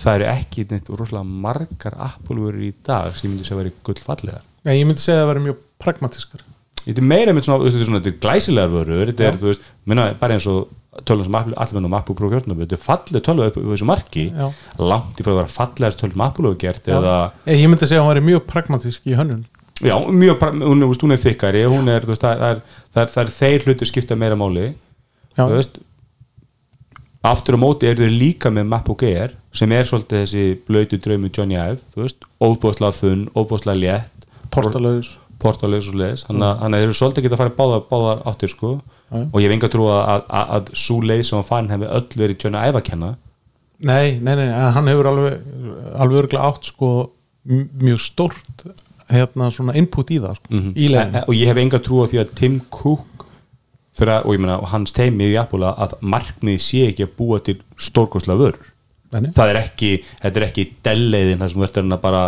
Speaker 2: það eru ekki neitt rosalega margar appalvörur í dag sem ég myndi segja að vera gullfallega
Speaker 4: en ég myndi segja að það vera mjög pragmatískar
Speaker 2: Þetta er meira með svona, þú veist, þetta er svona þetta er glæsilegar vörur þetta er, þú veist, minna, bara eins og tölun sem Apple- allir menn um Apple Pro 14 þetta er falleg tölva upp við þessu marki
Speaker 4: Já.
Speaker 2: langt í frá að vera fallegast tölun sem Apple hefur gert eða,
Speaker 4: Eh, ég myndi segja að hún veri mjög pragmatísk í hönnun
Speaker 2: já, mjög, pra- hún, er, þú veist, hún er þykkari hún er, þú veist, það er, það er, það er þeir hlutir skipta meira máli
Speaker 4: Já.
Speaker 2: Þú veist, aftur á móti eru þeir líka með Map og Gear sem er svolítið þessi blöytu draumi Johnny Ive, þú veist, óbúðslega þunn óbúðslega létt,
Speaker 4: portalauðs
Speaker 2: portalegs og leis hann mm. er svolítið geta að fara báðar, báðar áttir sko,
Speaker 4: Já.
Speaker 2: og ég hef enga trú að, að, að, að svo leið sem hann fann hefði öll verið Johnny Ive að kenna
Speaker 4: Nei, nei, nei, en hann hefur alveg alveg örgulega átt sko m- mjög stórt hérna svona input í það sko,
Speaker 2: Mhm.
Speaker 4: í leiðin
Speaker 2: og ég hef enga trú á því að Tim Cook fyrir að, og ég meina, og hans teimið í Apple að markmið sé ekki að búa til stórkosla vörur
Speaker 4: Nei, nei.
Speaker 2: það er ekki, þetta er ekki delleiðin þar sem þú ert að reyna bara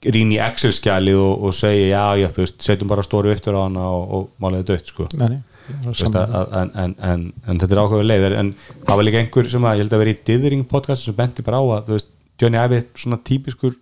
Speaker 2: rýn í Excel-skjalið og, og segja já, já, þú veist, setjum bara stóru viftur á hana og, og málið er dött, sko
Speaker 4: Nei, nei, ég var
Speaker 2: Þú veist,
Speaker 4: sammála.
Speaker 2: að, að- en, en, en, en þetta er áhuga leið en það var líka einhver sem að, ég held að vera í Dithering podcast sem benti bara á að, þú veist, Johnny Ive er svona típiskur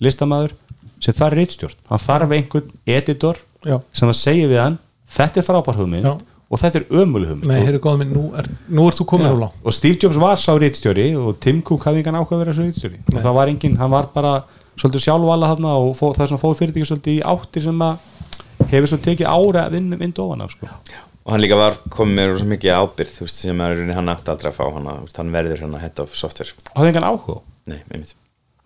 Speaker 2: listamaður sem þarf reitstjórn, hann þarf einhvern editor
Speaker 4: Já.
Speaker 2: sem að segja við hann þetta er frábær hugmynd
Speaker 4: Já.
Speaker 2: og þetta er ömuleg hugmynd
Speaker 4: Nei,
Speaker 2: Og-
Speaker 4: heyrðu góð minn, nú, er, nú ert þú komin úr langt
Speaker 2: og Steve Jobs var sá rítstjóri og Tim Cook hafði engan ákveð að vera sá rítstjóri og það var engin, hann var bara svolítið sjálfvala þarna og fó, það er svona fóð fyrirtæki svolítið í áttir sem að hefur svo tekið ára að vinna vind ofan af sko.
Speaker 3: og hann líka var komið með rosa mikið ábyrð þú veist, sem er, í rauninni hann átti aldrei að fá hann, að- þú veist, hann verður hérna head of software
Speaker 2: hafði engan áhuga á?
Speaker 3: nei, einmitt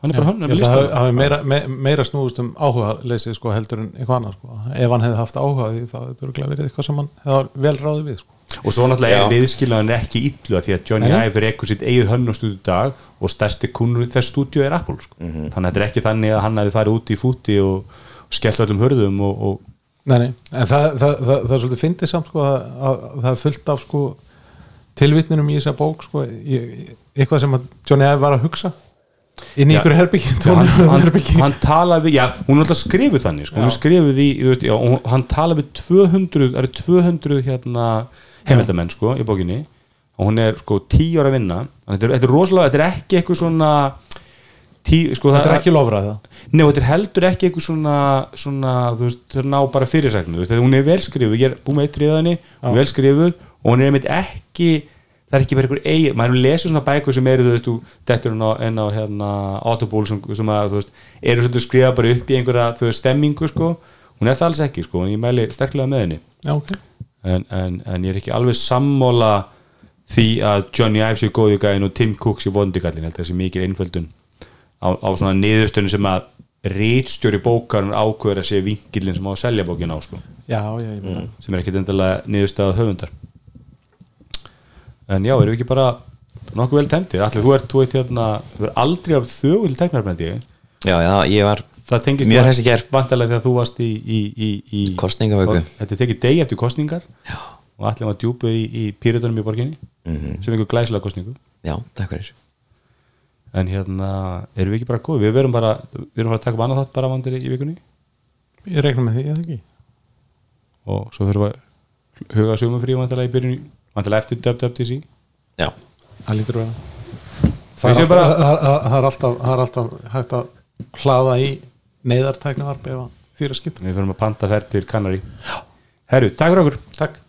Speaker 2: hann er bara hann
Speaker 4: Ég held að það hafi meira, me, meira snúðust um áhugaleysið sko heldur en eitthvað annað sko. ef hann hefði haft áhuga á því þá hefði það verið eitthvað sem hann hefði vel ráðið við sko.
Speaker 2: og svo náttúrulega
Speaker 3: Já.
Speaker 2: er viðskilnaðan ekki illu af því að Johnny
Speaker 4: Nei.
Speaker 2: Ive rekur sitt eigið hönn og stúdíu dag og stærsti kunnur þess stúdíu er Apple sko. þannig að þetta er ekki þannig að hann hafi farið út í fúti og, og skellt öllum hörðum og, og
Speaker 4: nei, nei. en það, það, það, það, er svolítið fyndið samt sko, að, að, að það er fullt af sko, tilvitninum í þessa bók sko, í, í- eitthvað sem að Johnny Ive var að hugsa inn í
Speaker 2: Já.
Speaker 4: ykkur herbyggi
Speaker 2: hann, hann,
Speaker 4: herbyggi
Speaker 2: hann talaði við, já, hún er alltaf skrifuð þannig sko, hún er skrifuð í, þú veist, já, og hún- hann talaði við 200, það eru 200 hérna, heimildamenn sko, í bókinni og hún er sko 10 ára að vinna Þannig þetta er, þetta er rosalega, þetta er ekki eitthvað svona tí, sko,
Speaker 4: þetta er ekki lofrað það
Speaker 2: Nei, og þetta er heldur ekki eitthvað svona, svona þú veist, þau ná bara fyrirsæknu, þú veist, þegar hún er velskrifuð, ég er búið með eitt reyðanni, hún er velskrifuð og hún er einmitt ekki, það er ekki bara einhver eigi, maður lesur svona bækur sem eru, þú veist, þú, þetta er á, en á hérna, autoból sem, sem að, þú veist, eru svolítið skrifað bara upp í einhverja, þú veist, stemmingu, sko, hún er það alls ekki, sko, en ég mæli sterklega með henni
Speaker 4: já, okay.
Speaker 2: en, en, en ég er ekki alveg sammála því að Johnny Ives sé góði gæðin og Tim Cook sé vondi gallin held að það sé mikil einföldun á, á svona niðurstöðun sem að rítstjóri bókarinn ákveður að sé vinkilin sem á að selja bókin á sko,
Speaker 4: já, já, ég meina
Speaker 2: sem er ekkit endalega niðurstöða höfundar en já, erum við ekki bara nokkuð vel temtir, allir þú ert, þú ert hérna, þú ert aldrei af þögul eh? teknarmeldi
Speaker 3: já, já, ég var
Speaker 2: það tengist
Speaker 3: Mjög hress í gær.
Speaker 2: vantarlega þegar þú varst í, í, í, í
Speaker 3: Kosningavöku.
Speaker 2: þetta er tekið degi eftir kostningar já. og allir var djúpu í, í pyritunum í borginni -hmm. sem einhver glæsilega kostningu
Speaker 3: já, takk fyrir
Speaker 2: en hérna, erum við ekki bara góð við verum bara, við erum bara að taka upp annað þátt bara vandir í vikunni
Speaker 4: ég reikna með því, ég þekki
Speaker 2: og svo þurfum við að huga sögum frí vantarlega í byrjun vantarlega eftir döpt döpt í sí
Speaker 3: já,
Speaker 4: það lítur að vera
Speaker 2: Við
Speaker 4: það
Speaker 2: séum
Speaker 4: er, alltaf, bara... það, það, það, er alltaf, það er alltaf hægt að hlaða í neyðartæknavarp ef að fyrir skipta
Speaker 2: við verum að panta ferð til Kanari herru, takk fyrir okkur
Speaker 4: takk